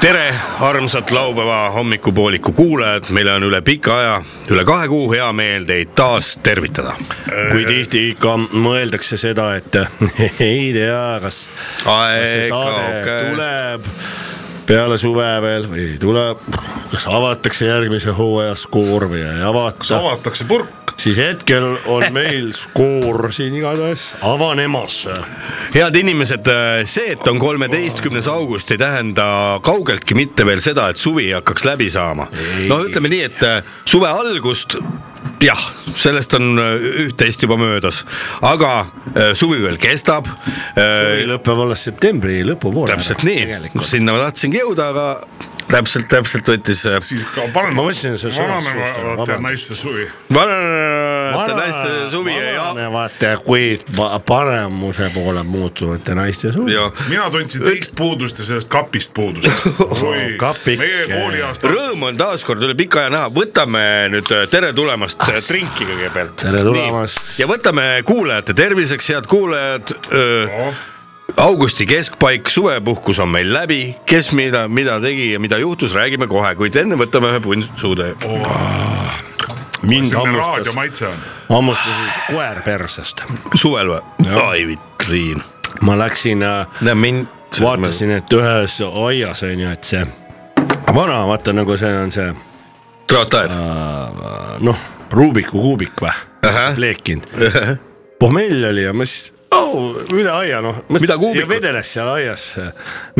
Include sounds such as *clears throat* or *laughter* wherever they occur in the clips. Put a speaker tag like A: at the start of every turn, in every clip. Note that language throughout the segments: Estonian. A: tere , armsad laupäeva hommikupooliku kuulajad , meil on üle pika aja , üle kahe kuu hea meel teid taas tervitada .
B: kui tihti ikka mõeldakse seda , et *laughs* ei tea , kas kas see saade tuleb peale suve veel või ei tule , kas avatakse järgmise hooaja skoor või ei avata ,
A: avatakse purk .
B: siis hetkel on
A: *laughs*
B: meil skoor siin igatahes avanemas .
A: head inimesed , see , et on kolmeteistkümnes august , ei tähenda kaugeltki mitte veel seda , et suvi hakkaks läbi saama . no ütleme nii , et äh, suve algust jah , sellest on äh, üht-teist juba möödas , aga äh, suvi veel kestab . eh,
B: lõpeb alles septembri lõpupoole .
A: täpselt nii , sinna ma tahtsingi jõuda , aga täpselt , täpselt võttis äh,
C: siis ka parem .
B: Ma mõtlesin, et see on suvast suust, aga
C: vananevate
B: vabandust.
C: naiste suvi .
A: vananevate naiste suvi ja ,
B: vananevate , kuid pa- paremuse poole muutuvate naiste suvi .
A: ja
C: mina tundsin teist puudust ja sellest kapist
B: *laughs*
C: puudust .
B: kapike.
C: meie kooliaasta .
A: rõõm on taaskord üle pika aja näha , võtame nüüd äh, tere tulemast äh, trinki kõigepealt .
B: Tere tulemast.
A: ja võtame kuulajate terviseks , head kuulajad . augusti keskpaik , suvepuhkus on meil läbi , kes mida , mida tegi ja mida juhtus , räägime kohe , kuid enne võtame ühe punnsuude .
B: mind
C: selline
B: hammustas
C: raadio , maitse on .
B: hammustasid koer persest .
A: suvel või ? ai vitriin .
B: ma läksin äh,
A: näe mind .
B: vaatasin , et ühes aias on ju , et see vana , vaata nagu see on see
A: traataed .
B: noh , Rubiku kuubik või
A: Ahah. ,
B: leekinud . pohmell oli ja ma siis oh, , üle aia noh .
A: Mida kuubikut?
B: ja vedeles seal aias äh,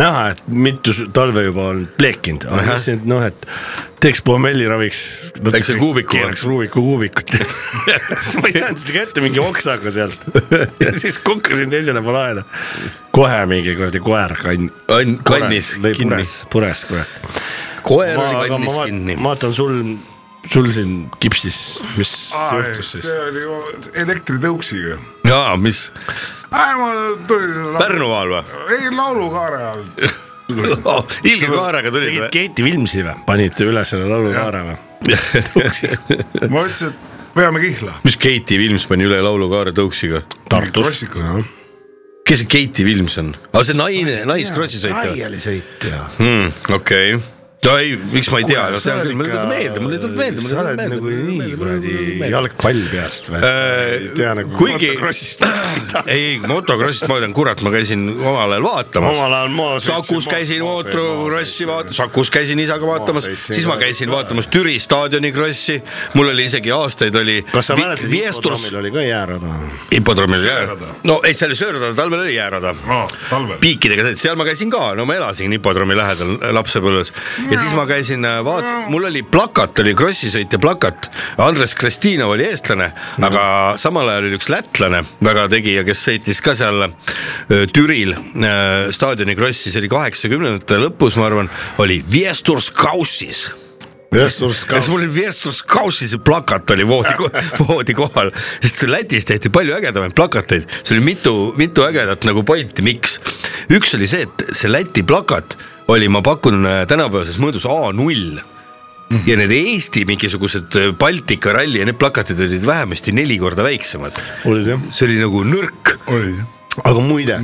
B: näha , et mitu s- talve juba on leekinud , aga mõtlesin , et noh , et teeks pohmelli raviks .
A: Läks see kuubikuga?
B: keeraks Rubiku
A: *laughs*
B: kuubikut . ma ei saanud seda kätte mingi oksaga sealt ja siis kukkusin teisele poole aeda . kohe mingi kuradi koer kann- .
A: on kannis kinni .
B: pures , pures kurat .
A: koer
B: ma ,
A: oli
B: aga ma
A: kannis
B: vaat-
A: kinni .
B: vaatan sul , sul siin kipsis , mis juhtus siis
C: see ? oli ju elektritõuksiga .
A: jaa , mis
C: ma tulin .
A: Pärnumaal või ? Oh,
C: ei , laulukaare all .
A: ilge kaarega tulid
B: tegid
A: või ?
B: Keiti Vilmsi või , panite üle selle laulukaare või ?
A: *laughs*
C: ma ütlesin , et veame kihla .
A: mis Keiti Vilms pani üle laulukaare tõuksiga ?
B: Tartus .
A: kes see Keiti Vilms on ? aa , see naine , naisgrossisõitja või ?
B: laialisõit ja .
A: okei . no ei , miks ma ei tea , no see
B: sa
A: on küll ,
B: oled
A: mulle
B: ikka-
A: tuleb meelde , mulle tuleb meelde ,
B: sa
A: mulle
B: oled
A: tuleb
B: nagu nii kuradi
A: meelde .
B: jalgpall peast või ? ei tea nagu .
A: kuigi , *laughs* ei , ei motokrossist ma tean , kurat , ma käisin omal ajal vaatamas .
B: omal ajal ma .
A: Sakus käisin mootorkrossi vaatamas , Sakus käisin isaga vaatamas ,
B: sõitsin
A: siis ma
B: ka.
A: käisin vaatamas Türi staadioni krossi , mul oli isegi aastaid oli .
B: kas sa mäletad , Viestormil oli ka jäärada ?
A: hipodroomil oli jäärada ,
C: Söörada.
A: no ei , see oli söörada , talvel oli jäärada .
C: aa , talvel .
A: piikidega sõit , seal ma käisin ka , no ma elasin hipodroomi lähedal äh, lapsepõlves ja siis ma käisin , vaat- , mul oli plakat , oli krossisõitja plakat . Andres Kristinov oli eestlane , aga samal ajal oli üks lätlane , väga tegija , kes sõitis ka seal äh, Türil äh, staadioni krossi , see oli kaheksakümnendate lõpus , ma arvan , oli Viesturskausis ja siis
B: Viestorskaus
A: mul oli Versus Kausi see plakat oli voodi , voodi kohal , sest see Lätis tehti palju ägedamaid plakateid , see oli mitu , mitu ägedat nagu pointi , miks . üks oli see , et see Läti plakat oli , ma pakun äh, tänapäevases mõõdus A null ja need Eesti mingisugused äh, Baltika ralli ja need plakatid olid vähemasti neli korda väiksemad .
B: olid jah ?
A: see oli nagu nõrk .
C: oli .
B: aga muide ,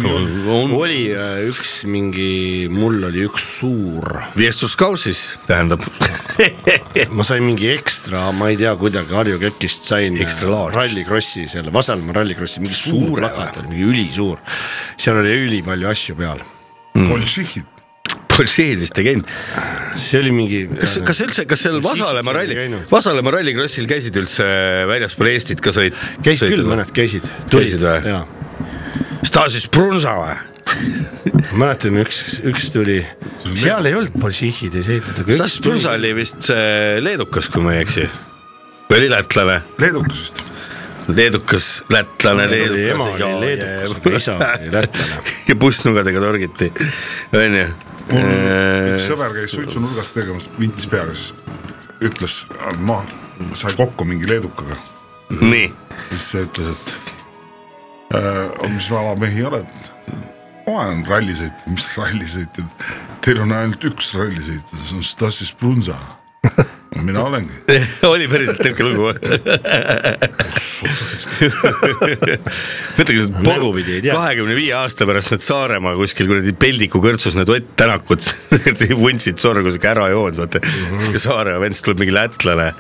B: oli äh, üks mingi , mul oli üks suur ,
A: Versus Kausis tähendab *laughs*
B: ma sain mingi ekstra , ma ei tea , kuidagi Harju kekist sain äh,
A: Extra large.
B: rallikrossi selle , Vasalemma rallikrossi , mingi suur
A: Suure
B: plakat oli , mingi ülisuur . seal oli ülipalju asju peal , Mm.
C: Bolšihhid .
A: Bolšeid vist ei käinud .
B: see oli mingi . äh,
A: kas , kas üldse , kas seal Vasalemma
B: seal ei
A: ralli
B: käinud. ,
A: Vasalemma rallikrossil käisid üldse väljaspool Eestit ka sõit ?
B: käis küll , mõned käisid , tulid
A: Käisid või?
B: ja
A: Stasis Brunsa või ?
B: mäletan , üks , üks tuli , seal ei olnud Bolšihhid ei sõitnud , aga üks
A: Stasis Brunsa
B: tuli ,
A: oli vist see leedukas , kui ma ei eksi . või oli lätlane ,
C: leedukas vist .
A: leedukas , lätlane , leedukas .
B: ema oli leedukas , aga isa oli lätlane .
A: *laughs* ja pussnugadega torgiti , onju .
C: üks sõber käis suitsunurgas tegemas , vints peaga , siis ütles , ma sain kokku mingi leedukaga .
A: Äh, nii ,
C: siis see ütles , et äh, mis vana mehi oled ? ma olen rallisõitja , mis rallisõitja , teil on ainult üks rallisõitja , see on Stassis Brunza . mina olengi .
A: *laughs* oli päriselt niuke lugu . mõtlegi ,
B: Tagurpidi ei tea.
A: kahekümne viie aasta pärast need Saaremaa kuskil kuradi peldiku kõrtsus need Ott Tänakud *laughs* vuntsid sorgu siuke ära joonud , vaata . Saaremaa vend , siis tuleb mingi lätlane .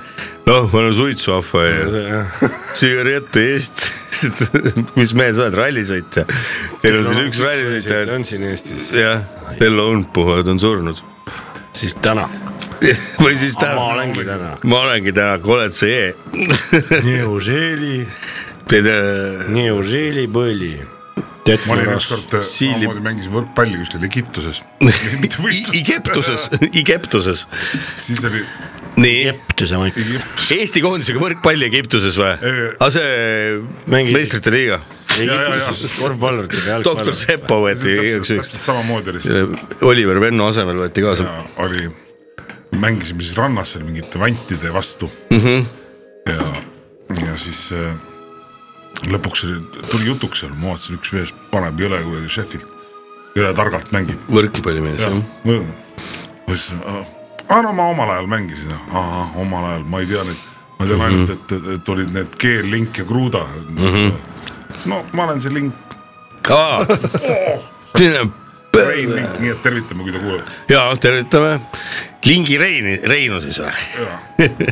A: noh , ma olen suitsuahva onju , sigareti eest . *laughs* mis mees sa oled , rallisõitja ? Teil on siin üks rallisõitja ainult
B: on siin Eestis ,
A: jah , Vello Õunpuu , ta on surnud . *laughs*
B: siis täna .
A: või siis täna .
B: ma olengi
A: *laughs*
B: täna .
A: ma olengi täna , oled sa jee .
B: Neuželi ,
A: pead ,
B: neuželi põli .
C: ma olin ükskord äh,
A: Siili-
C: samamoodi mängisin võrkpalli kuskil
A: *laughs*
C: Egiptuses . mitte
A: Egiptuses , Egiptuses ,
C: siis oli
A: nii .
B: Egiptuse maik .
C: Egiptus .
A: Eesti koondisega võrkpalli Egiptuses või
C: Ei. ?
A: aga see
B: Mängi-
A: meistrite liiga ,
B: Egiptuses korvpallurite peal .
A: doktor Sepo võeti igaks juhuks ,
C: täpselt samamoodi oli siis ,
A: Oliver Venno asemel võeti kaasa .
C: oli , mängisime siis rannas seal mingite vantide vastu mm . -hmm. ja , ja siis äh, lõpuks oli, tuli jutuks seal , ma vaatasin , üks mees paneb jõle kuradi šefilt , jõle targalt mängib .
A: võrkpallimees jah .
C: ma ütlesin , aa no ma omal ajal mängisin , ahah , omal ajal , ma ei tea neid , ma tean ainult , et , et, et olid need G-Link ja Kruda mm . -hmm. no ma olen see Link ,
A: aa , selline
C: Oh! Rein
A: pöörd .
C: Link , nii et tervitame , kui ta kuuleb .
A: jaa , tervitame Lingi Reini , Reinu siis või ?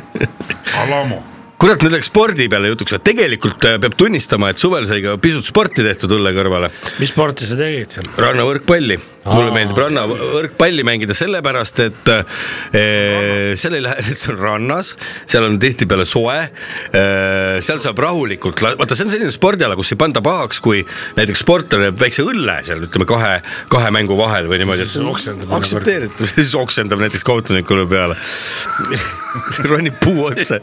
C: Alamo
A: kurat , nüüd läks spordi peale jutuks , aga tegelikult äh, peab tunnistama , et suvel sai ka pisut sporti tehtud õlle kõrvale
B: mis sporti sa tegid seal ?
A: rannavõrkpalli , mulle
B: Aa.
A: meeldib rannavõrkpalli mängida sellepärast , et eh, seal ei lähe , *laughs* see on rannas , seal on tihtipeale soe eh, , seal saab rahulikult , vaata , see on selline spordiala , kus ei panda pahaks , kui näiteks sportlane jääb väikse õlle seal , ütleme kahe , kahe mängu vahel või niimoodi .
B: Siis oksendab jälle
A: aktsepteeritav , *laughs* siis oksendab näiteks kohtunikule peale . *laughs* ronib puu otsa ,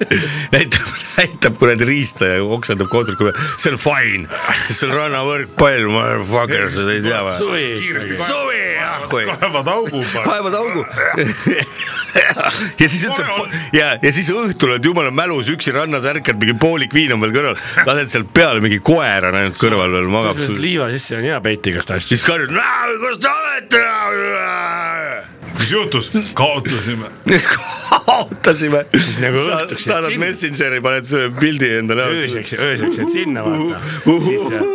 A: näitab , näitab kuradi riista ja oksendab kohtunikule , see on fine , see on rannavõrkpall , motherfucker , seda ei tea või ?
C: kiiresti Ah,
A: suvi jah , kui
C: kaevad augu peale .
A: kaevad augu . *laughs* ja siis üldse
C: on.
A: ja , ja siis õhtul oled jumala mälus , üksi rannas ärkad , mingi poolik viin on veel kõrval , lased sealt peale , mingi koer on ainult kõrval veel magab .
B: sellest liiva sisse on hea peita igast asju .
A: siis karjud , kus te *laughs* olete ?
C: mis juhtus ? kaotasime .
A: kaotasime . siis
B: nagu õhtuks jääd
A: saadad
B: sinna.
A: Messengeri , paned selle pildi enda näoks .
B: ööseks , ööseks jääd sinna vaata , siis äh,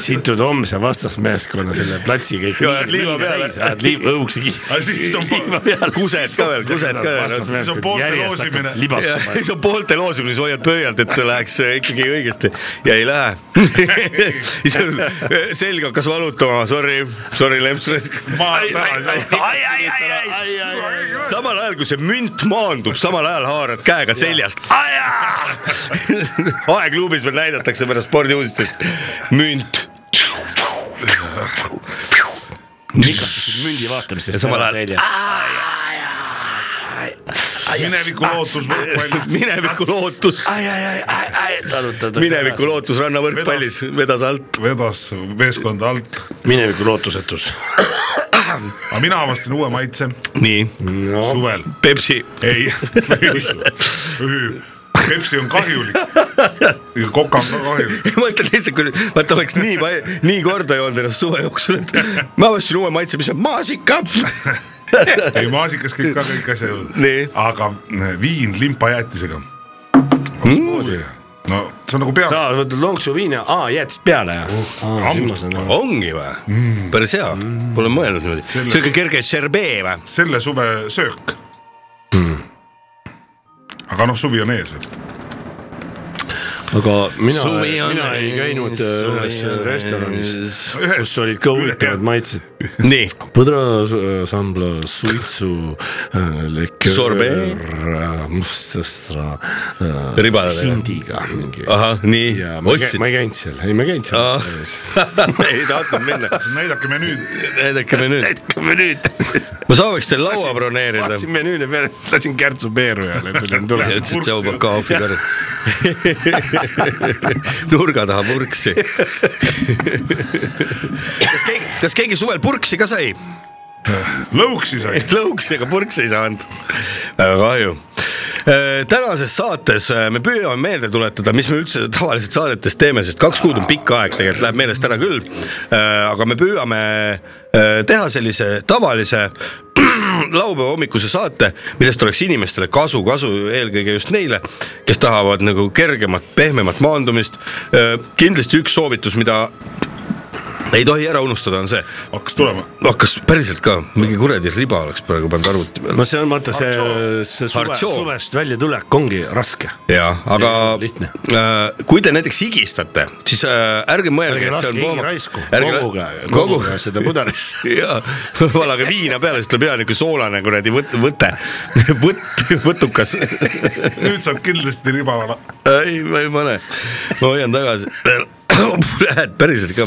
B: situd homse vastasmeeskonna selle platsi kõik .
A: Ja ajad liiva peale.
B: ajad liiva , õuksi
C: Aga
B: *laughs*
C: siis on
B: liiva peale .
A: Kused ka veel, kused ka veel.
C: Siis on poolte loosimine.
A: ja
B: libastama .
A: siis on poolte loosimises hoiad pöialt , et läheks äh, ikkagi õigesti ja ei lähe .
B: *laughs*
A: selg hakkas valutama , sorry , sorry lemps raisk .
C: Ma-
A: ai , ai , ai , ai , samal ajal kui see münt maandub , samal ajal haarad käega seljast . *laughs* aegluubis veel näidatakse pärast spordiuudistes münt
B: nikastasid mündi vaatamisest .
A: samal ajal- .
C: mineviku lootus võrkpallis .
A: mineviku lootus ,
B: tarutad .
A: mineviku . lootus rannavõrkpallis vedas alt .
C: vedas meeskonda alt ,
B: mineviku lootusetus .
C: aga mina avastasin uue maitse
A: nii ,
C: suvel .
A: Pepsi , *laughs*
C: ei *laughs* Pepsi on kahjulik ja Coca on ka kahjulik .
A: ma ütlen lihtsalt , kui vaata oleks nii palju , nii korda joonud ennast suve jooksul , et ma avastasin uue maitse , mis on maasika .
C: ei maasikas kõik ka kõik asja
A: Nii.
C: juurde . aga viin limpajäätisega . no see on nagu pea ,
B: sa Ah, võtad lonksu viina , aa jätsid peale jah ?
A: ongi või , päris hea , pole mõelnud niimoodi , sihuke kerge šerbee või ,
C: selle suve söök . aga noh , suvi on ees veel .
B: aga mina ,
A: Suvi on
B: mina ei
A: ees,
B: käinud äh,
A: suvi
B: ühes
A: on
B: restoranis ,
C: Ühes-
B: kus olid ka huvitavad maitsed .
A: nii ,
B: põdrasambla , suitsu , lekör .
A: Sorbet. .
B: mustsõstra .
A: Ribadega.
B: hindiga mingi .
A: ahah , nii
B: ja , ma
A: Ah,
B: ei käi-
A: ostsid Ah.
B: ma , ei käinud seal , ei ma ei käinud
A: Aa.
B: seal .
A: *laughs* ei tahtnud minna ,
C: näidake menüüd .
A: näidake menüüd ,
B: hakkame *laughs* nüüd ,
A: ma sooviks teil laua broneerida
B: vaatasin menüüle peale , siis lasin kärtsu peeru ja
A: *laughs*
B: tulin
A: ja
B: tulema .
A: ütlesid tšau Bakahvi kord . *laughs* nurga taha purksi . kas keegi , kas keegi suvel purksi ka sai ?
C: lõuksi sai .
A: lõuksi , aga purksi ei saanud . väga kahju . tänases saates äh, me püüame meelde tuletada , mis me üldse tavaliselt saadetes teeme , sest kaks kuud on pikk aeg , tegelikult läheb meelest ära küll . aga me püüame äh, teha sellise tavalise *clears throat* laupäeva hommikuse saate , millest oleks inimestele kasu , kasu eelkõige just neile , kes tahavad nagu kergemat , pehmemat maandumist . kindlasti üks soovitus , mida ei tohi ära unustada , on see ,
C: hakkas tulema ,
A: hakkas päriselt ka mingi kuradi riba oleks praegu pannud arvuti peale .
B: no see on vaata see , see suve ,
A: Hartsoon.
B: suvest väljatulek ongi raske .
A: jah , aga
B: ole lihtne.
A: äh, kui te näiteks higistate , siis äh, ärge mõelge ,
B: ärge
A: et see on
B: laske higi
A: puhama-
B: raisku ,
A: ärge la-
B: koguge , koguge seda pudelisse .
A: *laughs* jaa , valage viina peale , siis tuleb hea niuke soolane kuradi võt- , võte , *laughs* võt- , võtukas . *laughs*
C: nüüd saad kindlasti riba vana .
A: ei , ma ei pane , ma hoian tagasi . *coughs* Lähed päriselt ka ,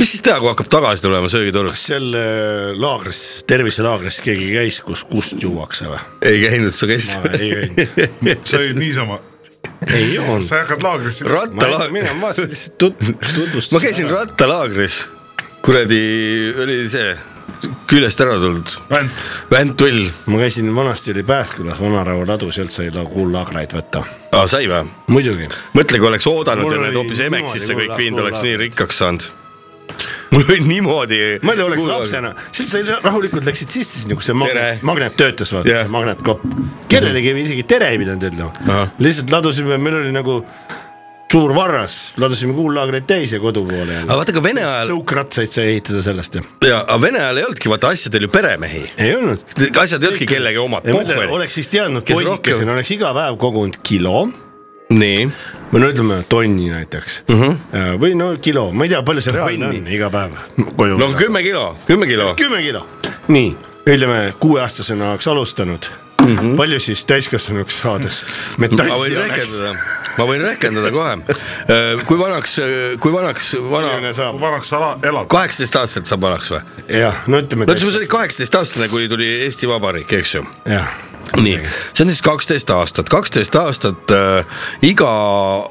A: mis siis teha , kui hakkab tagasi tulema söögitorust ?
B: seal äh, laagris , terviselaagris keegi käis , kus kust juuakse või ?
A: ei käinud , sa käisid ? *laughs*
B: ei käinud ,
C: sa olid niisama ,
B: *laughs* ei joonud .
C: sa hakkad laagrisse .
A: rattalaagris ,
B: mina , ma lihtsalt *laughs* tut- tutvustasin .
A: ma käisin . rattalaagris , kuradi oli see küljest ära tulnud ,
C: vänt ,
A: väntull ,
B: ma käisin , vanasti oli Pääskülas Vanaraua ladu , sealt sai la- kuullaagreid võtta .
A: aa sai või ?
B: muidugi .
A: mõtle , kui oleks oodanud
B: Mul
A: ja need
B: oli
A: hoopis Emexisse
B: niimoodi
A: kõik
B: kuula-
A: viinud , oleks nii
B: kuulaagris.
A: rikkaks saanud . mul oli niimoodi .
B: ma ei tea , oleks lapsena , sealt sai rahulikult läksid sisse , siis nagu see
A: Tere.
B: magnet , magnet töötas vaata
A: Jah.
B: yeah. , magnetkopp . kellelegi me isegi tere ei pidanud ütlema
A: Ahah. ,
B: lihtsalt ladusime , meil oli nagu suur varras , ladusime kuullaagreid täis ja kodu poole
A: aga
B: jälle .
A: vaata , aga Vene ajal ,
B: tõukratsaid sai ehitada sellest ju .
A: jaa , aga Vene ajal ei olnudki , vaata asjadel ju peremehi .
B: ei olnud .
A: asjad ei olnudki kellegi omad ,
B: ei mõtle ,
A: pohvel .
B: oleks siis teadnud ,
A: Kes rohkem-
B: poisikesena oleks iga päev kogunud kilo
A: nii ,
B: või no ütleme tonni näiteks mm
A: Mhm.
B: -hmm. või no kilo , ma ei tea , palju see reaalne on iga päev koju
A: no . kümme kilo , kümme kilo .
B: kümme kilo , nii , ütleme kuueaastasena oleks alustanud mm , -hmm. palju siis täiskasvanuks saades
A: Mhm. ma võin
B: metalli oleks ,
A: rehkendada , ma võin rehkendada kohe . kui vanaks , kui vanaks , vana ,
B: milline saab ,
C: vanaks sa ala- elad ,
A: kaheksateist aastaselt saab vanaks või ?
B: jah , no ütleme .
A: no ütleme , sa olid kaheksateist aastane , kui tuli Eesti Vabariik , eks ju
B: jah ,
A: nii , see on siis kaksteist aastat , kaksteist aastat äh, iga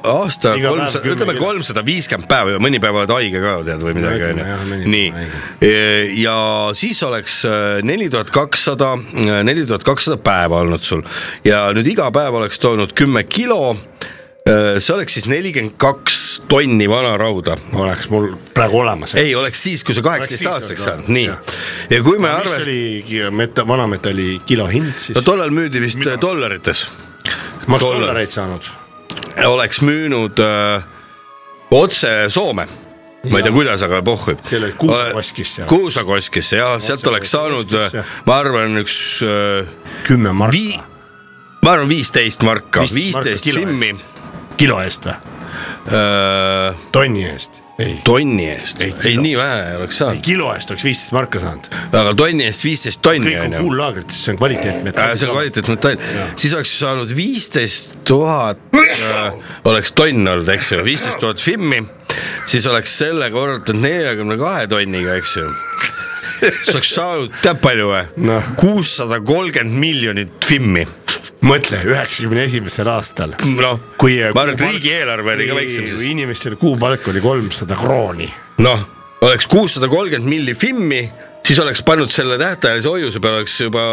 A: aasta
B: Iga päev
A: kolmsada ,
B: kümme
A: ütleme
B: kilo.
A: kolmsada viiskümmend päeva , mõni päev oled haige ka tead või midagi
B: ütleme, jah,
A: onju .
B: mõni
A: nii E,
B: päev ,
A: ja siis oleks neli tuhat kakssada , neli tuhat kakssada päeva olnud sul ja nüüd iga päev oleks toonud kümme kilo . see oleks siis nelikümmend kaks tonni vana rauda .
B: oleks mul praegu olemas .
A: ei , oleks siis , kui sa
B: siis
A: kaheksateist
B: olnud
A: aastaseks
B: olemas,
A: saanud , nii
B: jah. .
A: ja kui me
B: mis
A: arvestame ,
B: oli ki- meta- , vanametalli kilo hind siis
A: no ? tollal müüdi vist
C: Mida?
A: dollarites
B: ma oleks
A: dollar-
B: dollareid saanud .
A: oleks müünud öö, otse Soome . ma ei tea , kuidas , aga pohhu .
B: Selle Kuusakoskisse.
A: Kuusakoskisse jah , sealt oleks saanud ,
B: Kuusakoskisse.
A: ma arvan , üks öö,
B: kümme marka
A: vii- , ma arvan , viisteist marka ,
B: 15 marka
A: viisteist
B: kilo
A: tsimmi
B: eest. kilo eest või ,
A: öö,
B: tonni eest ? ei
A: äh, tonni eest . ei , nii vähe ei oleks saanud ,
B: kilo eest oleks viisteist marka saanud .
A: aga tonni eest viisteist tonni
B: kõik
A: on
B: on
A: ju .
B: kuullaagrites , see on kvaliteetmetall .
A: Äh, see on kvaliteetmetall , siis oleks saanud viisteist tuhat , oleks tonn olnud , eks ju , viisteist tuhat FIM-i , siis oleks selle korrutanud neljakümne kahe tonniga , eks ju . siis oleks saanud , tead palju või
B: Noh. ?
A: kuussada kolmkümmend miljonit FIM-i ,
B: mõtle üheksakümne esimesel aastal ,
A: noh ,
B: kui .
A: ma arvan , et riigieelarve oli ka väiksem siis ,
B: inimestel kuupalk oli kolmsada krooni .
A: noh , oleks kuussada kolmkümmend milli FIM-i , siis oleks pannud selle tähtajalise hoiuse peale , oleks juba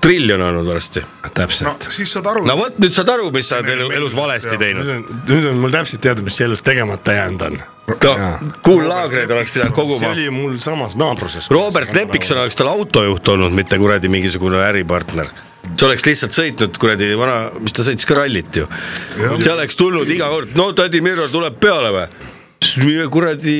A: triljon olnud varsti .
C: no
B: täpselt .
C: siis saad aru
A: no , vot , nüüd saad aru , mis sa oled elu- elus valesti teinud .
B: nüüd on , nüüd on mul täpselt teada , mis elus tegemata jäänud on .
A: no kuullaagreid oleks pidanud
B: see
A: koguma .
B: oli mul samas naabruses .
A: Robert Lepikson . oleks tal autojuht olnud , mitte kuradi mingisugune äripartner . see oleks lihtsalt sõitnud kuradi vana , mis ta sõitis ka rallit ju . see oleks tulnud iga kord , no tädi Mirro tuleb peale või ? kuradi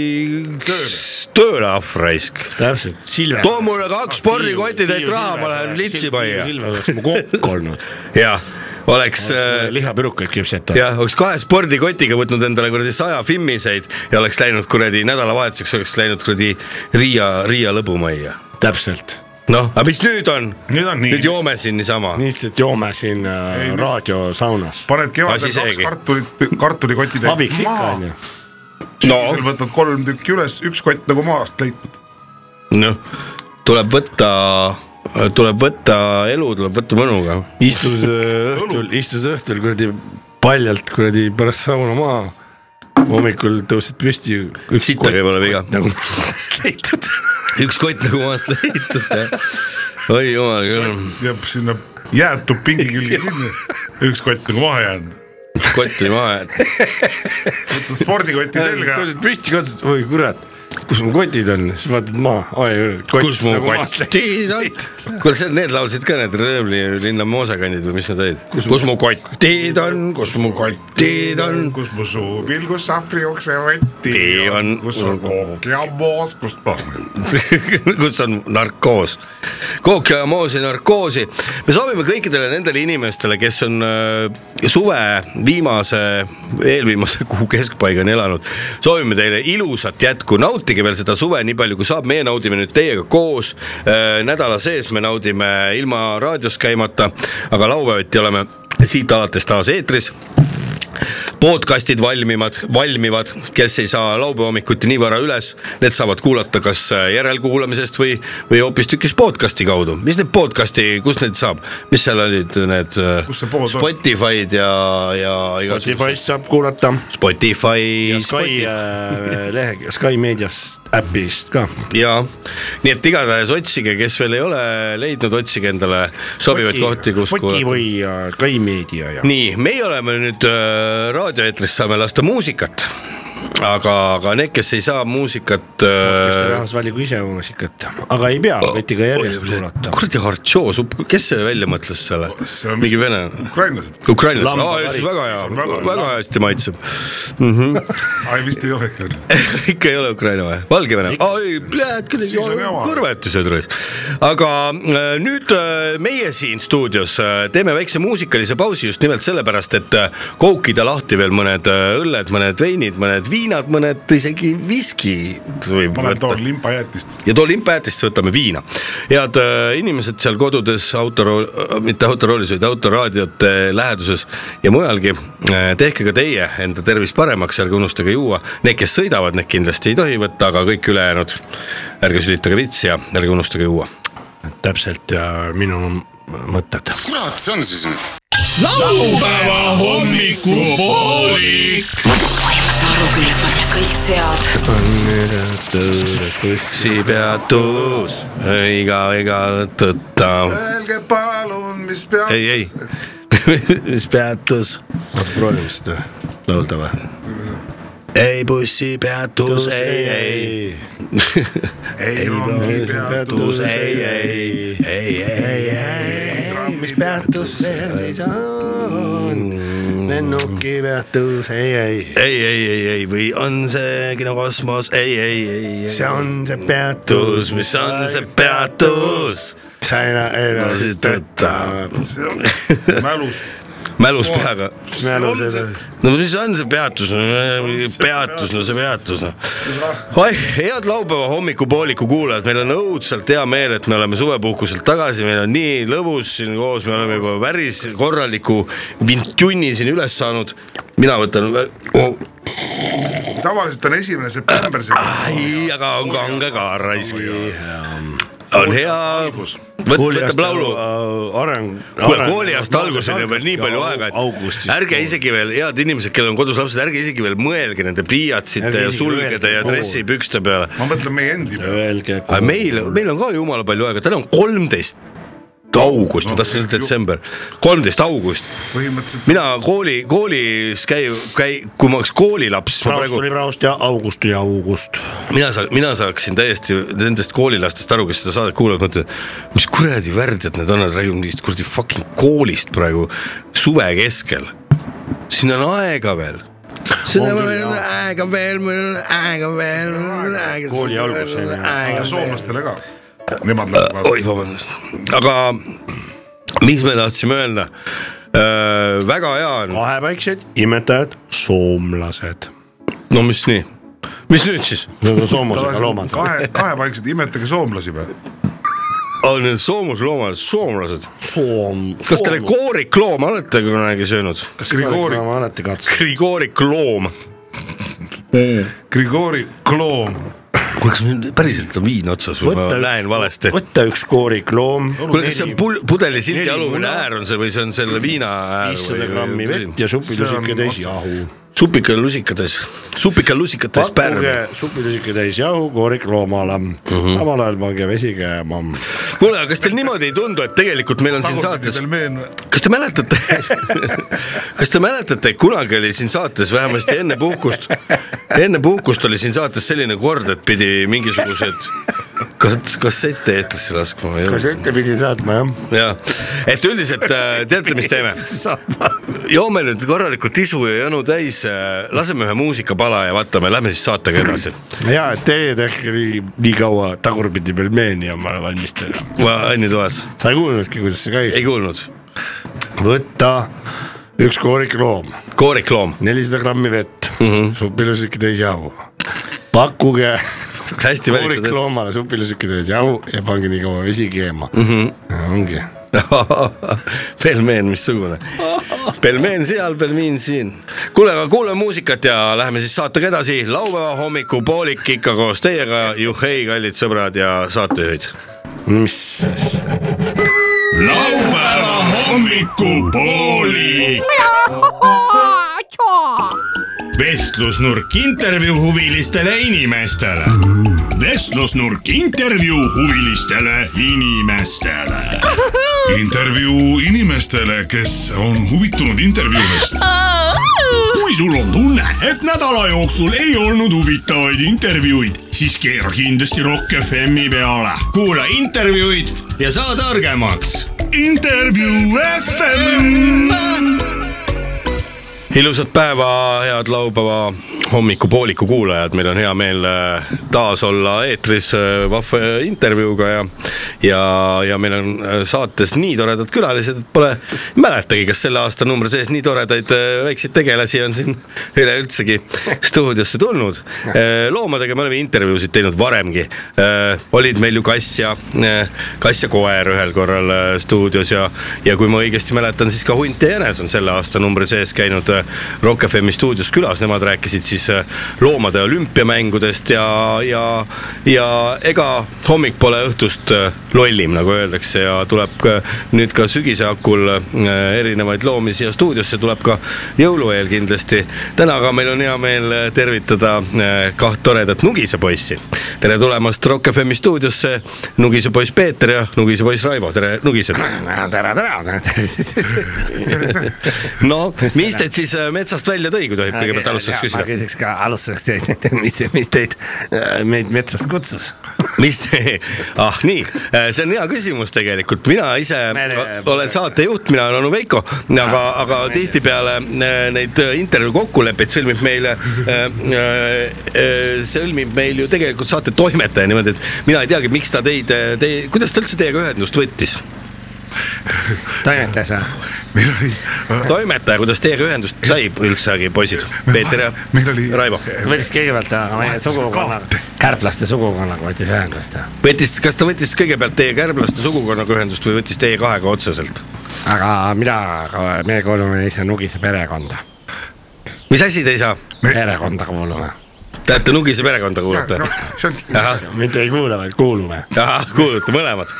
A: tööle ahv raisk .
B: täpselt , Silver .
A: too mulle kaks spordikotitäit raha , ma lähen litsi majja .
B: Silver oleks mu
A: *laughs*
B: kokk olnud ,
A: jah , oleks äh,
B: lihapirukaid küpsetada .
A: jah , oleks kahe spordikotiga võtnud endale kuradi saja fimmiseid ja oleks läinud kuradi nädalavahetuseks oleks läinud kuradi Riia , Riia lõbumajja .
B: täpselt ,
A: noh , aga mis nüüd on ?
C: nüüd on
A: nüüd
C: nii ,
A: joome siin niisama .
B: lihtsalt joome siin äh, raadiosaunas .
C: paned
A: Asi
C: kevadel kaks
A: seegi.
C: kartulit , kartulikotid
B: abiks ikka onju .
A: no ,
C: sügisel võtad kolm tükki üles , üks kott nagu maast leitud .
A: noh , tuleb võtta , tuleb võtta elu , tuleb võtta mõnuga .
B: istud äh, õhtul , istud õhtul kuradi paljalt kuradi pärast sauna maha . hommikul tõused püsti .
A: sittagi pole viga ,
B: nagu maast *laughs* leitud .
A: üks kott nagu maast leitud ja oi jumal küll ,
C: jääb sinna jäätub pingi
A: *laughs*
C: külge kinni , üks kott nagu maha jäänud .
A: kott oli maha jäetud .
C: spordikoti selga ,
B: tõused püsti , katsused , oi kurat , kus mu kotid on , siis vaatad maha , oi kurat .
A: kus mu kotid on ?
B: *laughs*
A: kuule , seal need laulsid ka need Röövli linna moosakandid või mis nad olid ? kus mu kotid on , kus mu kotid on ?
C: kus mu suu pilgus sahvri oksevotti
A: Tee on-
C: kus on kook ja moos , kus on .
A: *laughs* kus on narkoos , kookiamoosi narkoosi . me soovime kõikidele nendele inimestele , kes on äh, suve viimase , eelviimase *laughs* kuu keskpaigani elanud , soovime teile ilusat jätku , nautige veel seda suve nii palju kui saab , meie naudime nüüd teiega koos äh, nädala sees , me naudime ilma raadios käimata , aga laupäeviti oleme siit alates taas eetris podcast'id valmivad , valmivad , kes ei saa laupäeva hommikuti nii vara üles , need saavad kuulata kas äh, järelkuulamisest või , või hoopistükkis podcast'i kaudu . mis need podcast'i , kust neid saab , mis seal olid need äh,
C: Kus see pood on?
A: Spotify'd ja , ja igasugused
B: Spotify's saab kuulata .
A: Spotify,
B: ja Sky
A: Spotify.
B: äh, lehe , Sky meediast äpist ka .
A: ja nii et igatahes otsige , kes veel ei ole leidnud , otsige endale sobivaid kohti , kus
B: Spotify või äh, Sky meedia ja .
A: nii , meie oleme nüüd äh, raadioeetris , saame lasta muusikat . aga , aga need , kes ei saa muusikat
B: podcast'i
A: äh, .
B: rahvas valigu ise muusikat , aga ei pea , võite ka järjest kuulata .
A: kuradi Hartšoo supp , kes see välja mõtles selle
C: See on- ?
A: mingi venelane .
C: ukrainlased ,
A: ukrainlased ,
B: Lamba
A: aa ,
B: kari.
A: väga
C: See on
A: hea
C: väga , hea.
A: väga hästi maitseb .
C: ai vist ei olegi veel .
A: *laughs* ikka ei ole Ukraina või ? Valgevene , oi ,
C: Siis on jama.
A: kõrvetused raisk . aga äh, nüüd äh, meie siin stuudios äh, teeme väikse muusikalise pausi just nimelt sellepärast , et äh, koukida lahti veel mõned äh, õlled , mõned veinid , mõned viinad , mõned isegi viskid võib
C: ma lähen
A: võtta
C: toon limpajäätist .
A: ja too limpäätist võtame viina . head äh, inimesed seal kodudes autorool , mitte autoroolis , vaid autoraadiote läheduses ja mujalgi . tehke ka teie enda tervist paremaks , ärge unustage juua . Need , kes sõidavad , need kindlasti ei tohi võtta , aga kõik ülejäänud ärge sülitage vitsi ja ärge unustage juua .
B: täpselt ja minu mõtted .
D: kurat see on siis nüüd ?
E: laupäeva hommikupoolik .
F: kõik sead
A: sipeatus , iga , iga tõtta .
C: Öelge palun , mis peab .
A: ei , ei , *laughs* mis peatus
B: proovime seda laulda või ?
A: ei bussipeatus , ei , ei ,
C: ei ongi peatus .
A: peatus , ei , ei , ei , ei , ei .
B: mis peatus see siis on ?
A: Mm.
B: lennuki peatus , ei , ei ,
A: ei , ei , ei , ei või on see kinokosmos , ei , ei , ei , ei .
B: see on see
A: peatus
B: peatus ,,
A: mis on see ? peatus ?
B: sa ei näe edasi tõtta .
C: mälus .
A: mälus peaga .
B: mälus edasi .
A: no mis on see peatus , peatus , no see peatus noh . oih , head laupäeva hommikupooliku kuulajad , meil on õudselt hea meel , et me oleme suvepuhkuselt tagasi , meil on nii lõbus siin koos , me oleme juba päris korraliku vintjunni siin üles saanud . mina võtan oh, ,
C: tavaliselt on esimene september see .
A: ai , aga on kange ka raisk . on hea , võtab laulu
B: areng .
A: kuule , kooliaasta alguseni on veel nii palju aega , et
B: augustis .
A: ärge . isegi veel , head inimesed , kellel on kodus lapsed , ärge isegi veel mõelge nende pliiatsite
B: Ärge
A: ja
B: isegi
A: sulgede
B: mõelge.
A: ja dressipükste peale .
C: ma mõtlen meie endi peale .
B: Öelge .
A: aga meil , meil on ka jumala palju aega , täna on kolmteist august , ma tahtsin öelda detsember , kolmteist august .
C: põhimõtteliselt
A: mina kooli , koolis käi- , käi- , kui ma oleks koolilaps , siis ma
B: praegust
A: praegu
B: oli praegust ja august ja august .
A: mina saa- , mina saaksin täiesti nendest koolilastest aru , kes seda saadet kuulavad , mõtlevad , mis kuradi värdjad need on , nad räägivad mingist kuradi fucking koolist praegu suve keskel . siin on aega veel . siin on veel aega veel , meil on aega veel , meil on aega .
B: Kooli algus, on ju.
A: aega
C: ja
A: veel .
C: soomlastele ka . Nemad lähevad
A: oi , vabandust , aga mis me tahtsime öelda ? väga hea on ,
B: vahepäiksed , imetajad , soomlased .
A: no mis nii , mis nüüd siis ?
B: Need
A: *laughs*
B: on soomlasega loomad .
C: kahe , kahepaiksed imetage soomlasi või ?
A: on need soomusloomad , soomlased ,
B: Soom .
A: kas teile kooriklooma olete kunagi söönud ?
C: kas Grigori ,
B: ma alati katsun .
A: Grigori kloom .
C: Grigori kloon ,
A: kuule , kas meil päriselt on viin otsas või ma näen valesti ?
B: võta üks koolikloom .
A: kuule , kas see on pul- , pudelisildi
B: neli
A: alumine
B: muna.
A: äär on see või see on selle viina äär ?
B: viissada grammi vett ja
C: see on
B: supilusikatäis
C: otsa-
B: jahu .
A: supika lusikates , supika lusikates pärm .
B: pakkuge supilusike täis jahu , koorik loomale mm , -hmm. samal ajal pange vesi käima .
A: kuule , aga kas teil niimoodi ei tundu , et tegelikult meil on siin saates , kas te mäletate , *laughs* kas te mäletate , kunagi oli siin saates vähemasti enne puhkust , enne puhkust oli siin saates selline kord , et pidi mingisugused kas , kassette eetrisse laskma või ?
B: kassette pidi saatma jah .
A: jah , et üldiselt äh, teate , mis teeme ? *laughs* joome nüüd korralikult isu ja janu täis , laseme ühe muusikapala ja vaatame , lähme siis saatega edasi .
B: ja , et teie tehke nii, nii kaua tagurpidi pelmeeni omale valmistada .
A: ma Anni toas
B: sa ei kuulnudki , kuidas see käis
A: ei ? kuulnud ,
B: võtta üks koorik loom ,
A: koorikloom ,
B: nelisada grammi vett mm -hmm. , supilusike täis jahu . pakkuge
A: hästi
B: koorik
A: valitud .
B: loomale supilusike täis jahu ja pange nii kaua vesi keema mm . -hmm. ongi
A: *laughs* pelmeen missugune , pelmeen seal , pelmiin siin . kuule , aga kuulame muusikat ja läheme siis saatega edasi , laupäeva hommikupoolik ikka koos teiega , juhhei , kallid sõbrad ja saatejuhid .
B: mis asja ,
E: laupäeva hommikupoolik . vestlusnurk intervjuu huvilistele inimestele . vestlusnurk intervjuu huvilistele inimestele .
G: intervjuu inimestele , kes on huvitunud intervjuudest .
E: kui sul on tunne , et nädala jooksul ei olnud huvitavaid intervjuuid , siis keera kindlasti Rock FM-i peale . kuula intervjuud ja saa targemaks . intervjuu FM .
A: ilusat päeva , head laupäeva hommikupooliku kuulajad , meil on hea meel äh, taas olla eetris äh, vahva äh, intervjuuga ja ja , ja meil on äh, saates nii toredad külalised , et pole , ei mäletagi , kas selle aastanumbri sees nii toredaid äh, väikseid tegelasi on siin üleüldsegi stuudiosse tulnud . loomadega me oleme intervjuusid teinud varemgi , olid meil ju kass ja , kass ja koer ühel korral äh, stuudios ja , ja kui ma õigesti mäletan , siis ka hunt ja jänes on selle aastanumbri sees käinud äh, Rock FM-i stuudios külas , nemad rääkisid siis äh, loomade olümpiamängudest ja , ja , ja ega hommik pole õhtust äh, lollim , nagu öeldakse ja tuleb ka, nüüd ka sügise hakul äh, erinevaid loomi siia stuudiosse , tuleb ka jõulu eel kindlasti . täna aga meil on hea meel äh, tervitada äh, kaht toredat Nugise poissi . tere tulemast Rock FM-i stuudiosse , Nugise poiss Peeter ja Nugise poiss Raivo , tere Nugised .
B: tere , tere .
A: no mis teid siis äh, metsast välja tõi , kui tohib kõigepealt alustuseks
B: ma
A: küsida ,
B: küsiks ka alustuseks , mis , mis teid , meid metsast kutsus ?
A: mis , ah nii , see on hea küsimus tegelikult , mina ise
B: Me- Ah,
A: olen saatejuht , mina olen onu Veiko , aga , aga tihtipeale äh, neid äh, intervjuu kokkuleppeid sõlmib meile äh, , äh, sõlmib meil ju tegelikult saate toimetaja niimoodi , et mina ei teagi , miks ta teid , te , kuidas ta üldse teiega ühendust võttis ,
B: toimetas või ?
G: meil oli ,
A: toimetaja , kuidas teiega ühendust sai üldsegi , poisid , Peeter ja
G: meil oli
A: Raivo
B: võttis kõigepealt äh, meie sugukonnaga , kärblaste sugukonnaga võttis ühendust ,
A: võttis , kas ta võttis kõigepealt teie kärblaste sugukonnaga ühendust või võttis teie kahega otseselt ?
B: aga mina , me kuulume ise Nugise perekonda ,
A: mis asi te ei saa ?
B: perekonda kuulume .
A: Te olete Nugise perekonda kuulate ?
C: Noh,
A: ahah ,
B: mitte ei kuule , vaid kuulume .
A: ahah , kuulate mõlemad .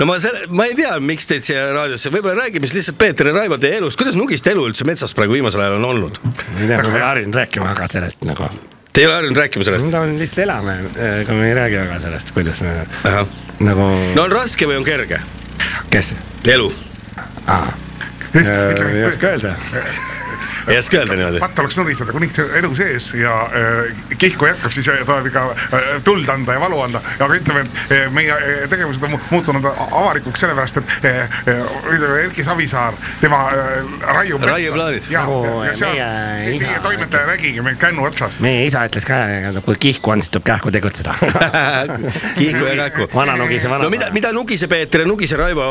A: no ma selle , ma ei tea , miks teid siia raadiosse , võib-olla räägime siis lihtsalt Peeter ja Raivo teie elust , kuidas Nugiste elu üldse metsas praegu viimasel ajal on olnud ?
B: ei tea , ma ei harjunud rääkima väga sellest nagu ,
A: Te ei ole harjunud rääkima sellest ?
B: no lihtsalt elame , ega me ei räägi väga sellest , kuidas me
A: ahah ,
B: nagu
A: no on raske või on kerge
B: kes ,
A: elu ?
B: ei oska öelda .
A: ei oska öelda niimoodi .
C: patt oleks nuriseda , kuni see elu sees ja äh, kihku jätkab , siis äh, tuleb ikka äh, tuld anda ja valu anda . aga ütleme , et äh, meie äh, tegevused on mu- muutunud a- avalikuks sellepärast , et äh, äh, ütleme Erki Savisaar , tema äh, raiub .
A: Raieplaanid.
C: ja ,
B: Nagu
C: ja seal
B: meie
C: see-
B: isa
C: teie toimetaja nägigi meil kännu otsas .
B: meie isa ütles ka , kui kihku on , siis tuleb kähku tegutseda .
A: *laughs* kihku ja kähku .
B: vana Nugise vana .
A: no mida , mida Nugise Peeter ja Nugise Raivo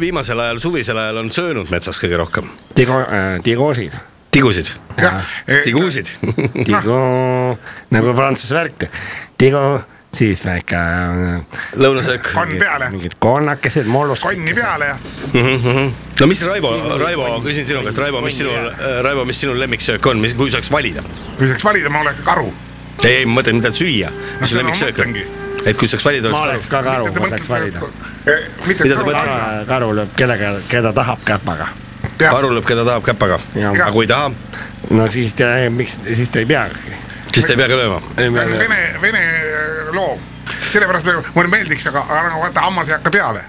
A: viimasel ajal , suvisel ajal on söönud metsas kõige rohkem ?
B: Tigo , äh, tigoosid ,
A: tigusid ,
C: äh,
A: tigusid .
B: tigo nagu prantsuse värk , tigo , siis väike äh,
A: lõunasöök .
C: konn peale ,
B: mingid konnakesed , mollus .
C: konni peale ja
A: no mis Raivo , Raivo , küsin sinu käest , Raivo , mis sinul , Raivo , mis sinul lemmiksöök on , mis , kui saaks valida ?
C: kui saaks valida , ma oleks karu .
A: ei , ei , ma mõtlen , mida süüa , mis su
C: seda ma
A: lemmiksöök on
C: mõtlengi. ?
A: et kui saaks valida ,
B: ma
A: oleks
B: oleks ka karu , ma saaks valida ..
C: mitte
A: Mida te
C: karu ,
B: karu lööb kellega , keda tahab käpaga .
C: Jah.
A: karuleb , keda tahab käpaga . aga kui ei taha ,
H: no siis ta , miks , siis ta ei peagi .
A: siis ta ei peagi lööma .
C: vene , vene äh, loo , sellepärast me- mulle meeldiks , aga , aga nagu vaata hammas ei hakka peale .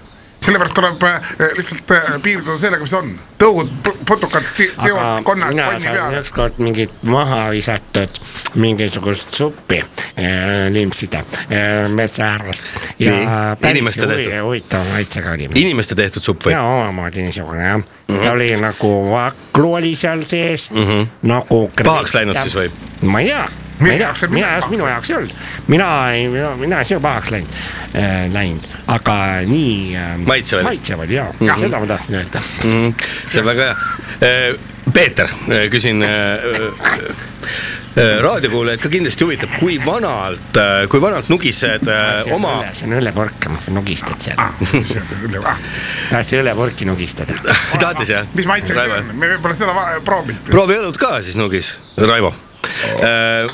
C: sellepärast tuleb äh, lihtsalt äh, piirduda sellega , mis on , tõugud , putukad , teod , konnad ,
B: mina
C: konni
B: sain
C: peale .
B: ükskord mingit maha visatud mingisugust suppi äh, limpsida äh, metsaäärest
A: Nii,
B: ja päris
A: inimeste tehtud.
B: hui- huvitav maitsega oli .
A: inimeste tehtud Mhm. supp või
B: ja ? omamoodi niisugune jah , ta oli nagu vakru oli seal sees mm , -hmm. nagu .
A: Mhm. Pahaks läinud siis või? ?
B: ma ei tea , ma
C: Meie
B: ei tea
C: jaoks ei ,
B: mina
C: midagi
B: jaoks , minu jaoks ei olnud , mina ei , mina ei söö pahaks läinud äh, , läinud , aga nii äh, .
A: Maitsev oli. Mhm.
B: maitsev oli jaa mm , -hmm. seda ma tahtsin öelda .
A: mm, . see on väga hea . Peeter , küsin . äh, raadiokuulajaid ka kindlasti huvitab , kui vanalt , kui vanalt nugised äh, oma , *laughs*
B: see on õllepurkamas , nugistad seal ,
C: Ah,
B: tahtsin õlepurki nugistada .
A: tahate siia ?
C: mis maitsega see on , me pole seda va- proovinud .
A: proovi õlut ka siis nugis , Raivo .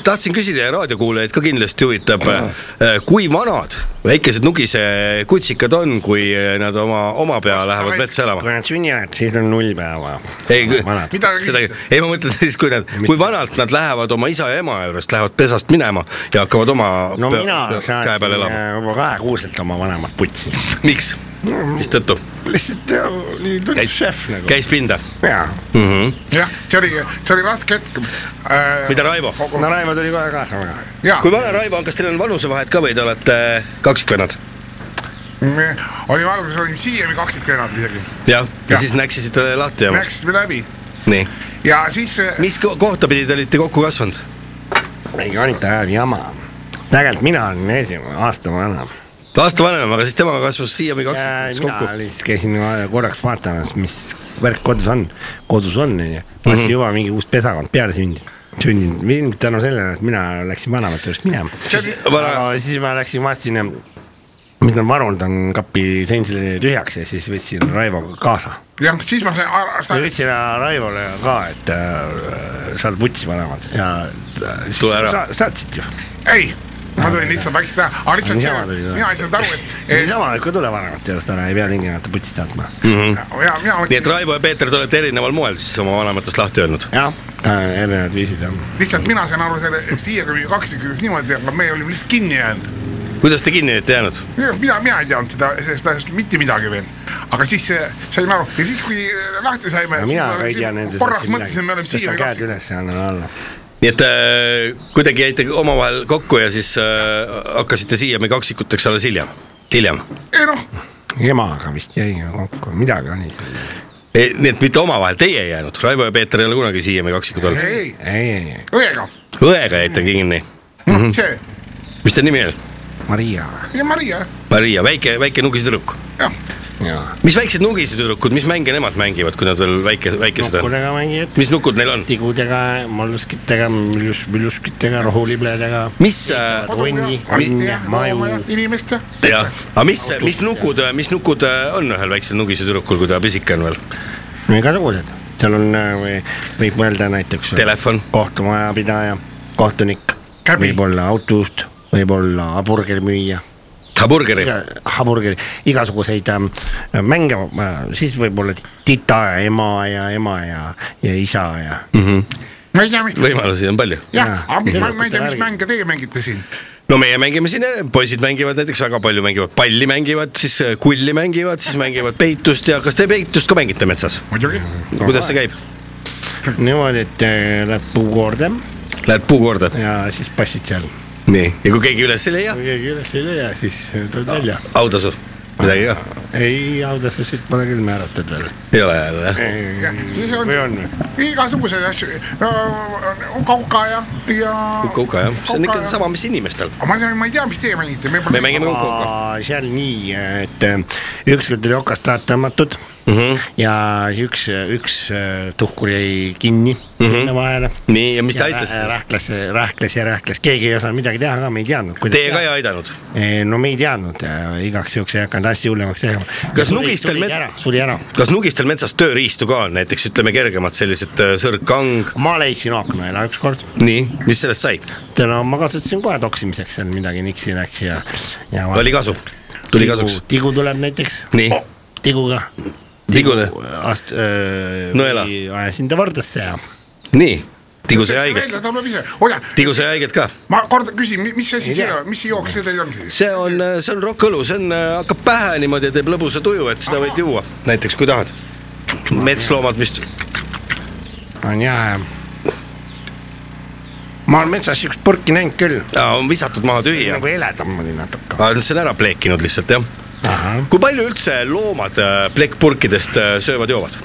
A: tahtsin küsida ja raadiokuulajaid ka kindlasti huvitab , kui vanad väikesed nugise kutsikad on , kui äh, nad oma , oma pea lähevad metsa elama
B: kui ? nad sünnivad , siis on null päeva .
A: ei ,
B: vanad ,
C: Mida te
A: seda ,
C: küsite?
A: ei ma mõtlen siis , kui nad , kui vanalt nad lähevad oma isa ja ema juurest , lähevad pesast minema ja hakkavad oma
B: no
A: pea-
B: mina
A: pea- käe
B: saatsin
A: peal elama .
B: äh, juba kahekuuselt oma vanemad putsi .
A: miks ? mistõttu ?
B: *laughs* lihtsalt äh, nii tundus
A: käis
B: šef nagu ,.
A: käis pinda
B: jaa ,
A: mm . -hmm.
C: jah , see oli , see oli raske hetk äh,
A: mida Raivo ?
B: no Raivo tuli kohe kaasa väga .
C: jah
A: kui , vana Raivo on , kas teil on vanusevahet ka või te olete kaksikvennad ?
C: me olime alguses olime siiani kaksikvennad isegi ,
A: jah , ja
C: Jah.
A: siis näksisite lahti ja
C: läksime läbi
A: nii .
C: ja siis äh,
A: mis ko- kohta pidi te olite kokku kasvanud ?
B: ei olnud ta ajal jama . tegelikult mina olin esimene aasta vanem .
A: aasta vanem , aga siis temaga kasvas siiani kaksikvennad
B: mina
A: kokku .
B: lihtsalt käisin va- korraks vaatamas , mis värk kodus on , kodus on onju . lassi juba mingi uus pesakond peale sündinud , sündinud mind tänu sellele , et mina läksin vanemate juurest minema .
A: Siis vana-
B: aga siis ma läksin , vaatasin , mis nad varunud on , kapi sain selle tühjaks ja siis võtsin Raivo kaasa .
C: jah , siis ma sain aru-
B: ma
C: sain-
B: ütlesin äh, Raivole ka , et äh, sa oled vutsi vanemad ja äh, siis
A: Tule ära.
B: sa- saatsid ju .
C: ei , ma tulin lihtsalt vaikselt ära , aga lihtsalt
B: Niisama
C: see-
B: tulid, jah.
C: mina ei saanud aru , et, et
B: niisama , kui tule vanemate juurest ära , ei pea tingimata vutsi saatma .
C: ja
A: nii
C: mina
A: et
C: mõtlesin ,
A: Raivo ja Peeter , te olete erineval moel siis oma vanematest lahti öelnud .
B: jah , erinevad viisid on .
C: lihtsalt mina sain aru selle siiani kaksikümnes niimoodi , aga me olime lihtsalt kinni jäänud .
A: kuidas te kinni olete jäänud ?
C: mina , mina ei teadnud seda , sellest asjast mitte midagi veel , aga siis eh, saime aru ja siis , kui äh, lahti saime .
B: mina ka ei tea nendest .
C: korraks mõtlesin , me oleme
B: siiani .
C: siiani
B: käed
C: kaksikümnes .
B: üles ja annan alla .
A: nii et äh, kuidagi jäite omavahel kokku ja siis äh, hakkasite siiani kaksikuteks alles hiljem , hiljem .
C: ei noh ,
B: emaga vist jäi ka kokku , midagi oli seal .
A: E, nii et mitte omavahel , teie ei jäänud , Raivo ja Peeter ei ole kunagi siiani kaksikud olnud .
C: ei , ei ,
B: ei , ei , ei ,
C: õega ,
A: õega jäite kinni ,
B: Mhm.
C: see
A: mis ta nimi oli ?
B: Maria .
C: ja Maria ,
A: Maria , väike , väike nugisetüdruk .
C: jah ,
B: jaa .
A: mis väiksed nugisetüdrukud , mis mänge nemad mängivad , kui nad veel väike , väikesed on ?
B: nukkudega mängijad ,
A: mis nukud neil on ?
B: tigudega , molluskitega , müllus , mülluskitega , rohulibledega .
A: mis äh, ,
B: tonni ,
C: arsti ja
B: konne , maju .
C: inimest ja ,
A: jah , aga mis , mis nukud , mis nukud äh, on ühel väiksel nugisetüdrukul , kui ta pisike on veel ?
B: no igasugused , seal on , võib mõelda näiteks .
A: Telefon.
B: kohtumajapidaja , kohtunik ,
C: Käbi.
B: võib-olla autojuht , võib-olla hamburgerimüüja
A: hamburgeri ,
B: iga- hamburgeri , igasuguseid ähm, mänge , siis võib-olla tita ja ema ja ema ja , ja isa ja mm .
C: ma ei tea ,
A: võimalusi on palju
C: jah , aga ma- ma ei tea ,
B: Värgid.
C: mis mänge teie mängite siin
A: no meie mängime siin , poisid mängivad näiteks väga palju , mängivad palli , mängivad siis äh, kulli , mängivad siis mängivad peitust ja kas te peitust ka mängite metsas ?
C: muidugi ,
A: kuidas see käib ?
B: -hmm. niimoodi , et äh, lähed puukoorde
A: Lähed puu korda ?
B: ja siis passid seal ,
A: nii , ja kui keegi üles ei leia ,
B: kui keegi üles ei leia , siis äh, tuled välja .
A: autasu , midagi ka ,
B: ei , audasusid pole küll määratud veel .
A: ei ole jälle jah ?
B: või on või ?
C: igasuguseid asju , uka-uka ja , ja .
A: kuka jah , see on ikka sama , mis inimestel .
C: aga ma ei tea , ma ei tea , mis teie mängite , me
A: me
C: pole .
A: mängime ka kuka .
B: seal nii , et äh, ükskord oli okast taat tõmmatud mm
A: Mhm.
B: -hmm. ja üks , üks äh, tuhkur jäi kinni mm -hmm. vahele
A: Mhm. nii , ja mis te
B: Ja rä-
A: aitasite ?
B: rähkles , rähkles ja rähkles , keegi ei osanud midagi teha ka , me ei teadnud .
A: Teie ka ei aidanud ?
B: no me ei teadnud , igaks juhuks ei hakanud asja hullemaks tegema .
A: Kas nugistel met-
B: met- ? suri ära ,
A: kas nugistel metsas tööriistu ka on , näiteks ütleme kergemad sellised äh, sõrgkang ,
B: ma leidsin akna ära ükskord ,
A: nii , mis sellest sai ?
B: no ma kasutasin kohe toksimiseks seal midagi niksi-näksi ja, ja .
A: oli kasu , tuli kasuks ,.
B: tigu tuleb näiteks ,
A: nii ,
B: tiguga
A: Tigule.
B: ast- öö,
A: Nõela.
B: või ajasin ta vardasse ja
A: nii , Tigu sai haiget ,
C: ta tuleb ise , oota ,
A: Tigu sai haiget ka .
C: ma kordan küsin , mis asi see , mis jook see teil on siis ?
A: see on , see on rokkõlu , see on , hakkab pähe niimoodi ja teeb lõbusa tuju , et seda võid juua , näiteks kui tahad . metsloomad vist ,
B: on hea ja . ma olen metsas siukest purki näinud küll ,
A: on visatud maha tühi ja
B: nagu heledam oli natuke .
A: aga see on ära pleekinud lihtsalt jah . kui palju üldse loomad äh, plekkpurkidest äh, söövad-joovad ?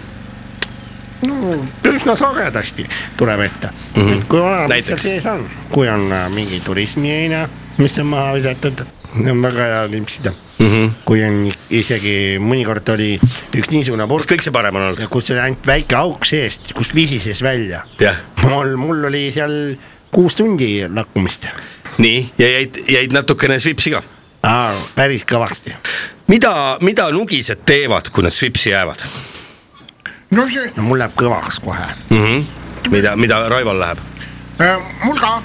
B: no üsna sagedasti tuleb ette mm , -hmm. kui oleneb , mis seal
A: Mhm. Näiteks?
B: sees on , kui on äh, mingi turismiheina , mis on maha visatud , on väga hea limpsida mm .
A: Mhm.
B: -hmm. kui on isegi mõnikord oli üks niisugune purk ,
A: kõik see parem on olnud ?
B: kus oli ainult väike auk seest , kus visises välja .
A: jah ,
B: mul , mul oli seal kuus tundi lakkumist ,
A: nii ja jäid , jäid natukene svipsi ka .
B: päris kõvasti .
A: mida , mida nugised teevad , kui nad svipsi jäävad
C: no see ,
B: no mul läheb kõvaks kohe ,
A: mm ? -hmm. mida , mida Raival läheb ?
C: mul ka ,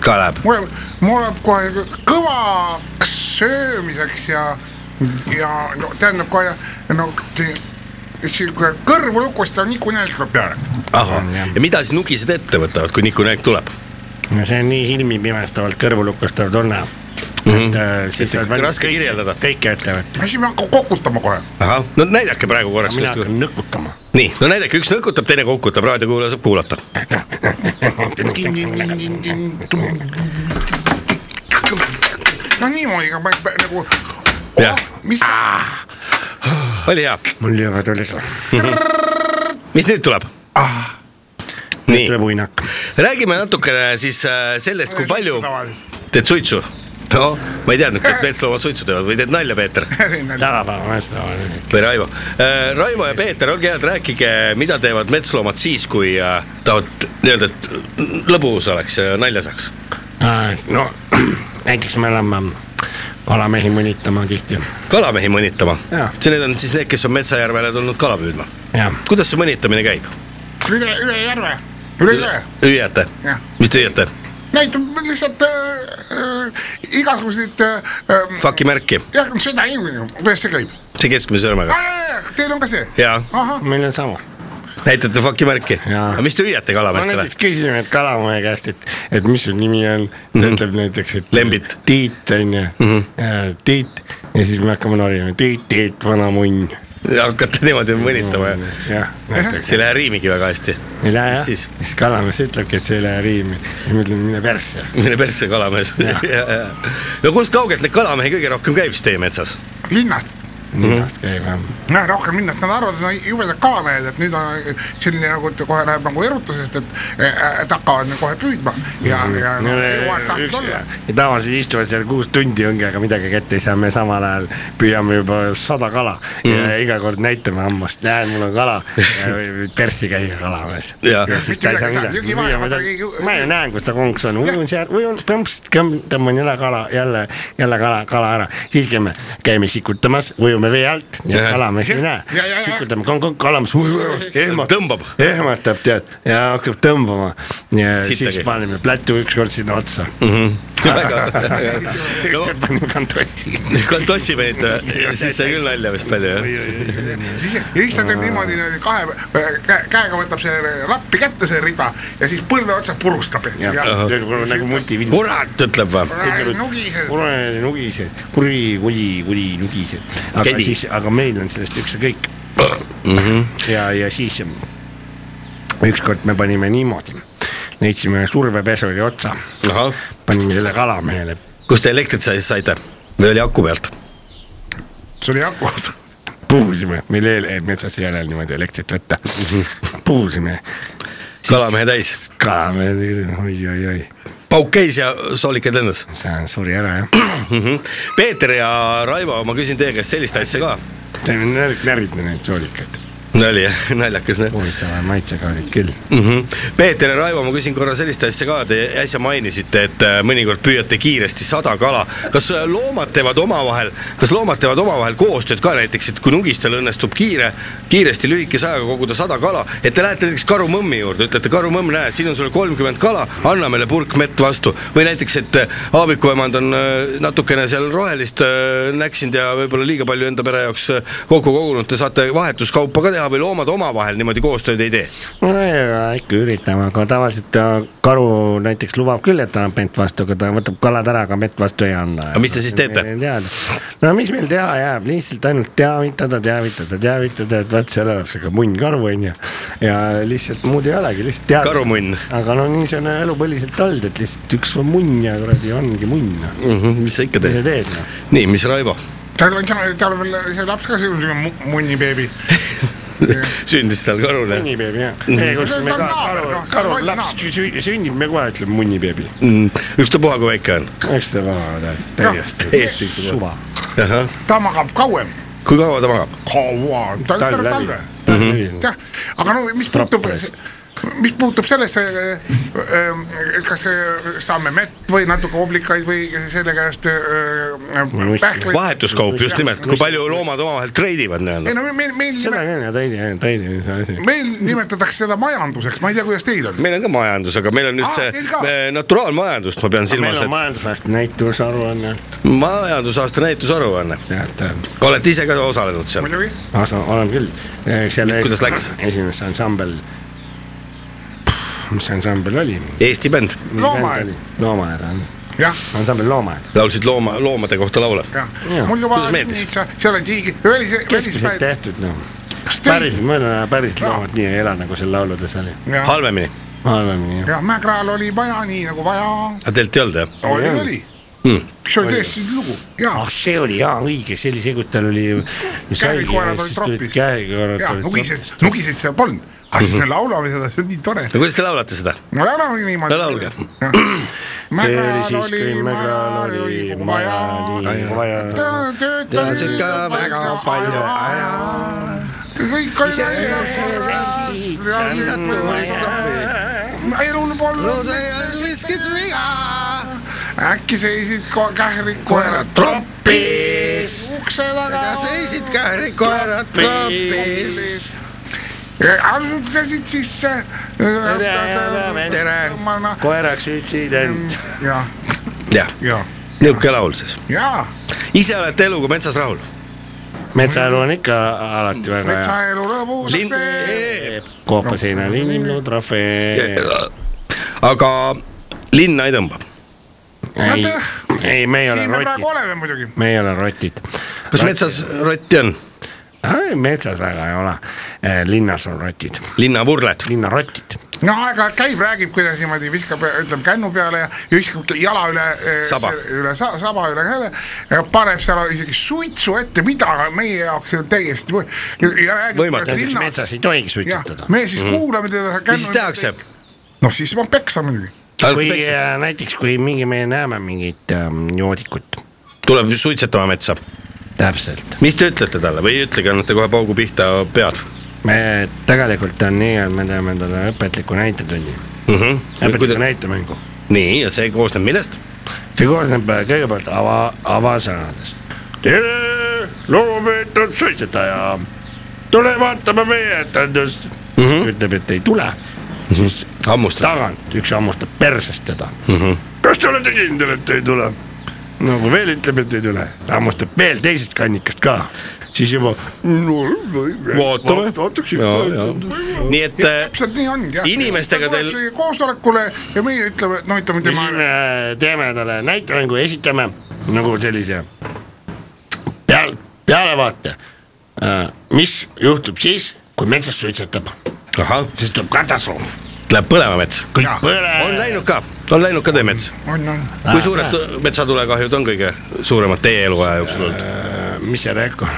A: ka läheb ,
C: mul , mul läheb kohe kõvaks söömiseks ja , ja no tähendab kohe , no see , see kõrvu lukust on niikuinii tuleb peale .
A: ahah , ja mida siis nugised ette võtavad , kui nikunäik tuleb ?
B: no see on nii silmipimestavalt kõrvulukustav tunne mm . -hmm. et äh, siis sa oled valmis
A: raske kirjeldada .
B: kõike ütlema , et
C: siis me hakkame kokutama kohe .
A: ahah , no näidake praegu korraks .
B: mina hakkan nõkutama .
A: nii , no näidake , üks nõkutab , teine kukutab , raadiokuulaja saab kuulata .
C: no niimoodi , nagu ,
A: jah ,
C: mis ,
A: oli hea ,
B: mul juba tuli ka ,
A: mis nüüd tuleb ? nii ,
B: Ah. tuleb uinak .
A: räägime natukene siis äh, sellest , kui palju
C: Tavaliselt.
A: teed suitsu . no ma ei teadnudki ,
B: Äh.
A: et metsloomad suitsu teevad või teed nalja , Peeter
B: tänapäevast
A: või Raivo . Raivo ja Peeter , olge head , rääkige , mida teevad metsloomad siis , kui äh, tahavad nii-öelda , et lõbus oleks ja nalja saaks .
B: Äh, no *clears throat* näiteks me oleme kalamehi mõnitama tihti
A: kalamehi mõnitama
B: Jaa. .
A: see , need on siis need , kes on Metsajärvele tulnud kala püüdma .
B: ja
A: kuidas see mõnitamine käib ?
C: üle , üle järve , üle jõe
A: hüüate
C: Jah. ?
A: mis te hüüate ?
C: näitab lihtsalt äh, äh, igasuguseid äh, äh,
A: Fucki märki ,
C: jah , seda inimene , kuidas see käib ? Ah,
A: see keskmise sõrmega .
C: Teil on ka see ?
A: jaa ,
C: ahah ,
B: meil on sama .
A: näitate fucki märki .
B: Jaa.
A: aga mis te hüüate
B: ma
A: kalameestele ?
B: näiteks küsin , et kalamehe käest , et , et mis su nimi on , ta ütleb näiteks , et
A: Mhm. Lembit. Mhm.
B: Tiit on ju , Tiit ja siis me hakkame norima , Tiit , Tiit , vana munn .
A: hakkate niimoodi mõnitama ja
B: jah , näiteks
A: see ei lähe riimigi väga hästi .
B: ei lähe jah ,
A: siis?
B: siis kalamees ütlebki , et see ei lähe riimi , siis ma ütlen mine persse .
A: mine persse , kalamees . *laughs* no kust kaugelt neid kalamehi kõige rohkem käib siis teie metsas ?
C: linnast .
A: Mhm.
B: linnast käib jah ,
C: noh , rohkem linnast , nad arvavad , et nad on jubedad kalamehed , et nüüd on selline nagu , et kohe läheb nagu erutusest , et , et hakkavad nagu kohe püüdma ja , ja no, jõuavad tahtnud
B: üks
C: olla .
B: ja tavaliselt istuvad seal kuus tundi ongi , aga midagi kätte ei saa , me samal ajal püüame juba sada kala mm. ja iga kord näitame hammast , näed , mul on kala , perssi käia kalamees .
A: Jaa.
B: ja siis ta ei saa midagi ,
C: Midagi ei saa, jõgi vahel kuidagi ju-
B: ma ju näen , kus ta konks on , ujun seal , ujun , põmps , tõmban jälle kala , jälle , jälle kala , kala ära , siis käime , käime sikutamas , ujume vee alt ja
A: Jah.
B: kalamees ei
C: Ja, ja,
B: näe
C: ja. ,
B: sikutame , kalamees
C: *laughs*
B: ehmatab
A: tõmbab .
B: ehmatab tead ja hakkab tõmbama ja
A: Sittagi.
B: Sittagi. siis panime plätu ükskord sinna otsa .
A: no
B: *laughs* ükskord panime kantossi .
A: kui tossi panite , siis sai küll nalja vist palju jah .
C: ja siis ta teeb niimoodi niimoodi kahe kä- käega võtab selle lappi kätte , see riba ja siis põlve otsas purustab .
B: nagu multivind .
A: kurat , ütleb või ?
C: nugised .
B: kuradi nugised , kuri , kuri , kuri nugised . aga
A: Kedi.
B: Kedi. siis , aga meil on sellest ükskõik mm . -hmm. ja , ja siis ükskord me panime niimoodi , leidsime survepesuri otsa ,
A: ahah ,
B: panime selle kalamehele ,
A: kust te elektrit sai- saite või oli aku pealt ?
C: see oli Jakob .
B: puhusime , meil eel- , metsas ei ole niimoodi elektrit võtta , puhusime
A: kalamehe täis ,
B: kalamees , oi-oi-oi ,
A: pauk käis ja soolikaid lendas . Mhm.
B: see suri ära jah .
A: Peeter ja Raivo , ma küsin teie käest sellist asja ka
B: see on närg , närviline neid soolikaid .
A: nali *laughs* jah , naljakas noh .
B: huvitavad maitsekaardid küll .
A: mm . -hmm. Peeter ja Raivo , ma küsin korra sellist asja ka , te äsja mainisite , et äh, mõnikord püüate kiiresti sada kala . kas äh, loomad teevad omavahel , kas loomad teevad omavahel koostööd ka näiteks , et kui Nugistel õnnestub kiire , kiiresti lühikese ajaga koguda sada kala , et te lähete näiteks karumõmmi juurde , ütlete , karunõmm , näe , siin on sulle kolmkümmend kala , anna meile purk mett vastu . või näiteks , et äh, Aavikuemand on äh, natukene seal rohelist äh, näksinud ja võib-olla liiga palju enda pere jaoks äh, kokku kogunud , te saate vahetuskaupa ka teha või loomad omavahel niimoodi koostööd ei tee
B: nojah , ikka üritame , aga tavaliselt äh, karu näiteks lubab küll , et ta annab mett vastu , aga ta võtab kalad ära , aga mett vastu ei anna .
A: Aga mis te siis teete?
B: no mis meil teha jääb , lihtsalt ainult teavitada , teavitada , teavitada , et vaat seal elab siuke munn karu onju . ja lihtsalt muud ei olegi , lihtsalt teavitada .
A: Karumunn.
B: aga no nii see on elupõliselt olnud , et lihtsalt üks on munn ja kuradi ongi munn . mis
A: mm . -hmm, mis sa ikka
B: sa
A: teed ?
B: teed noh ?
A: nii , mis Raivo ?
C: tal on , tal on veel see laps ka siin , munnibeebi .
A: sündis seal karul jah ?
B: munnibeebi jah .
A: Mhm.
B: ei , kus me ka karu , karu laps sü- sünnib , me kohe ütleme munnibeebi .
A: Mm, ükstapuha , kui väike on .
B: eks ta vaata , täiesti ,
A: täiesti
B: täiesti suva
C: ta magab kauem ,
A: kui kaua ta magab ?
C: kaua , ta on terve
B: läbi.
C: talve
A: Mhm.
B: Talv läbi.
C: jah , aga no mis puutub
B: Trapperis. ,
C: mis puutub sellesse , kas äh, saame mett või natuke oblikaid või selle käest äh, pähkleid .
A: vahetuskaup just nimelt , kui palju loomad omavahel treidivad
C: ei
A: nii-öelda .
C: no meil , meil ,
B: seda küll , ja treidi , treidi on see asi .
C: meil nimetatakse seda majanduseks , ma ei tea , kuidas teil on .
A: meil on ka majandus , aga meil on nüüd
C: Aa,
A: see
C: teil ka?
A: eh, naturaalmajandust , ma pean
B: meil
A: silmas ,
B: on majandusaasta näitusaruanne ,
A: et majandusaasta näitusaruanne .
B: teate ,
A: olete ise ka osalenud seal ?
C: muidugi ,
B: asa- , olen äh, küll . äh,
A: Mis- kuidas läks?
B: esimeses ansambel , mis see ansambel oli ?
A: Eesti bänd ,
C: Loomaaed. .
B: loomaaed on ,
C: jah ,
B: ansambel Loomaaed .
A: laulsid looma , loomade kohta laule .
C: jah
B: Jaa. ,
C: mul juba
A: Kuidas meeldis? ,
C: seal on tiigi , välis ,
B: keskmiselt
C: välispäev ,
B: tehtud noh ,
C: teil-
B: päriselt , ma ütlen , päriselt loomad nii ei ela , nagu seal lauludes oli .
C: jah ,
A: halvemini ,
B: halvemini jah .
C: jah , Mägral oli maja nii nagu vaja ,
A: aga teilt ei olnud jah ?
C: oli ,
B: Jah.
C: oli , see oli tõesti lugu , jaa
B: Hmm. ah , see oli jaa õige , see oli see , kui tal oli .
C: Käärikukoerad olid tropis.
B: käärikoerad
C: jaa ,
B: olid Mhm. tropis .
C: nugiseid , nugiseid seal polnud , aga siis me laulame seda , see on nii tore .
A: no kuidas te laulate seda ?
C: no laulame niimoodi .
A: No laulge. .
B: see oli siis , kui Mägral oli maja nii vaja .
C: töötasid ka väga palju aja . kõik oli elul polnud miskit viga . äkki seisid ko- kährikkoerad tropis , ukse taga
A: seisid kährikoerad trapis .
C: asutasid sisse .
A: tere.
B: koeraks ütlesid , et
C: jah ,
A: jah ,
C: jah ,
A: niisugune laul siis .
C: jaa
A: ise olete eluga metsas rahul ?
B: metsaelu on ikka alati väga hea .
C: metsaelu lõbus
A: Lind-
C: teeb .
B: koopaseinal inimlood trofee .
A: aga linna ei tõmba .
B: ei , ei , me ei ole
C: siin me praegu
B: rotid ,
C: oleme muidugi .
B: me ei ole rotid .
A: kas metsas rotti on ?
B: metsas väga ei ole , linnas on rotid ,
A: linnavurled .
B: linnarotid .
C: no aga käib , räägib , kuidas niimoodi viskab , ütleme kännu peale ja ja viskab jala üle eh,
A: Saba.
C: see- üle sa, saba üle käele ja paneb seal isegi suitsu ette , mida meie jaoks on täiesti või, ja räägib,
A: Võimatu.
C: kuidas
B: näiteks
C: linnas-
B: metsas ei tohiks
C: jah,
B: suitsetada .
C: me siis kuulame teda .
A: Mhm. mis siis tehakse ??
C: no siis ma peksa muidugi .
B: kui äh, näiteks , kui mingi , me näeme mingit ähm, joodikut ,
A: tuleb suitsetama metsa .
B: täpselt .
A: mis te ütlete talle või ei ütlegi , annate kohe paugu pihta pead
B: me tegelikult on nii , et me teeme talle õpetliku näitetunni ,
A: mm ? -hmm.
B: õpetliku
A: Kuida...
B: Kuida... näitemängu .
A: nii , ja see koosneb millest ?
B: see koosneb äh, kõigepealt ava , avasõnadest . tere , lugupeetud suitsetaja , tule vaatame meie etendust mm . -hmm. ütleb , et ei tule , siis
A: hammustad .
B: tagant üks hammustab persest teda mm . -hmm. kas te olete kindel , et ei tule ? no kui veel ütleb , et ei tule , hammustab veel teisest kannikast ka , siis juba . no
A: Vaatame.
B: vaataks
A: nii et äh,
C: täpselt nii ongi jah .
A: Inimestega teil-
C: koosolekule ja meie ütleme , no ütleme
B: ja
C: tema
B: siis me Äh, teeme talle näitemängu ja esitame nagu sellise peal , pealevaate , mis juhtub siis , kui metsas suitsetab ,
A: ahah ,
B: siis tuleb katastroof .
A: läheb põlema mets .
C: Jaa.
B: kõik
A: on
B: põleb .
A: läinud ka , on läinud ka teie mets .
C: on , on .
A: kui suured tu- metsatulekahjud on kõige suuremad teie eluaja jooksul olnud ?
B: mis Äh, see Reeko ,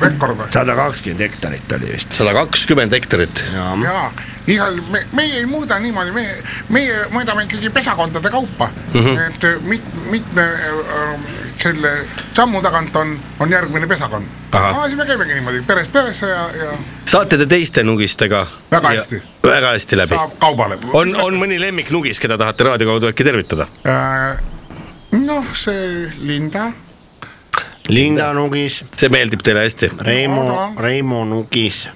C: rekord või ?
I: sada kakskümmend hektarit oli vist .
A: sada kakskümmend hektarit .
C: jaa , igal , me , meie ei muuda niimoodi , meie , meie mõõdame ikkagi pesakondade kaupa mm .
A: Mhm.
C: -hmm. et mit, mitme äh, selle sammu tagant on , on järgmine pesakond .
A: Ahah.
C: aa , siis me käimegi niimoodi perest peresse ja , ja
A: saate te teiste nugistega ?
C: Väga hästi. .
A: väga hästi läbi .
C: saab kaubale .
A: on , on mõni lemmiknugis , keda tahate raadio kaudu äkki tervitada ?
C: Äh, noh , see Linda ,
B: Linda Nugis ,
A: see meeldib teile hästi ,
B: Reimo , Reimo Nugis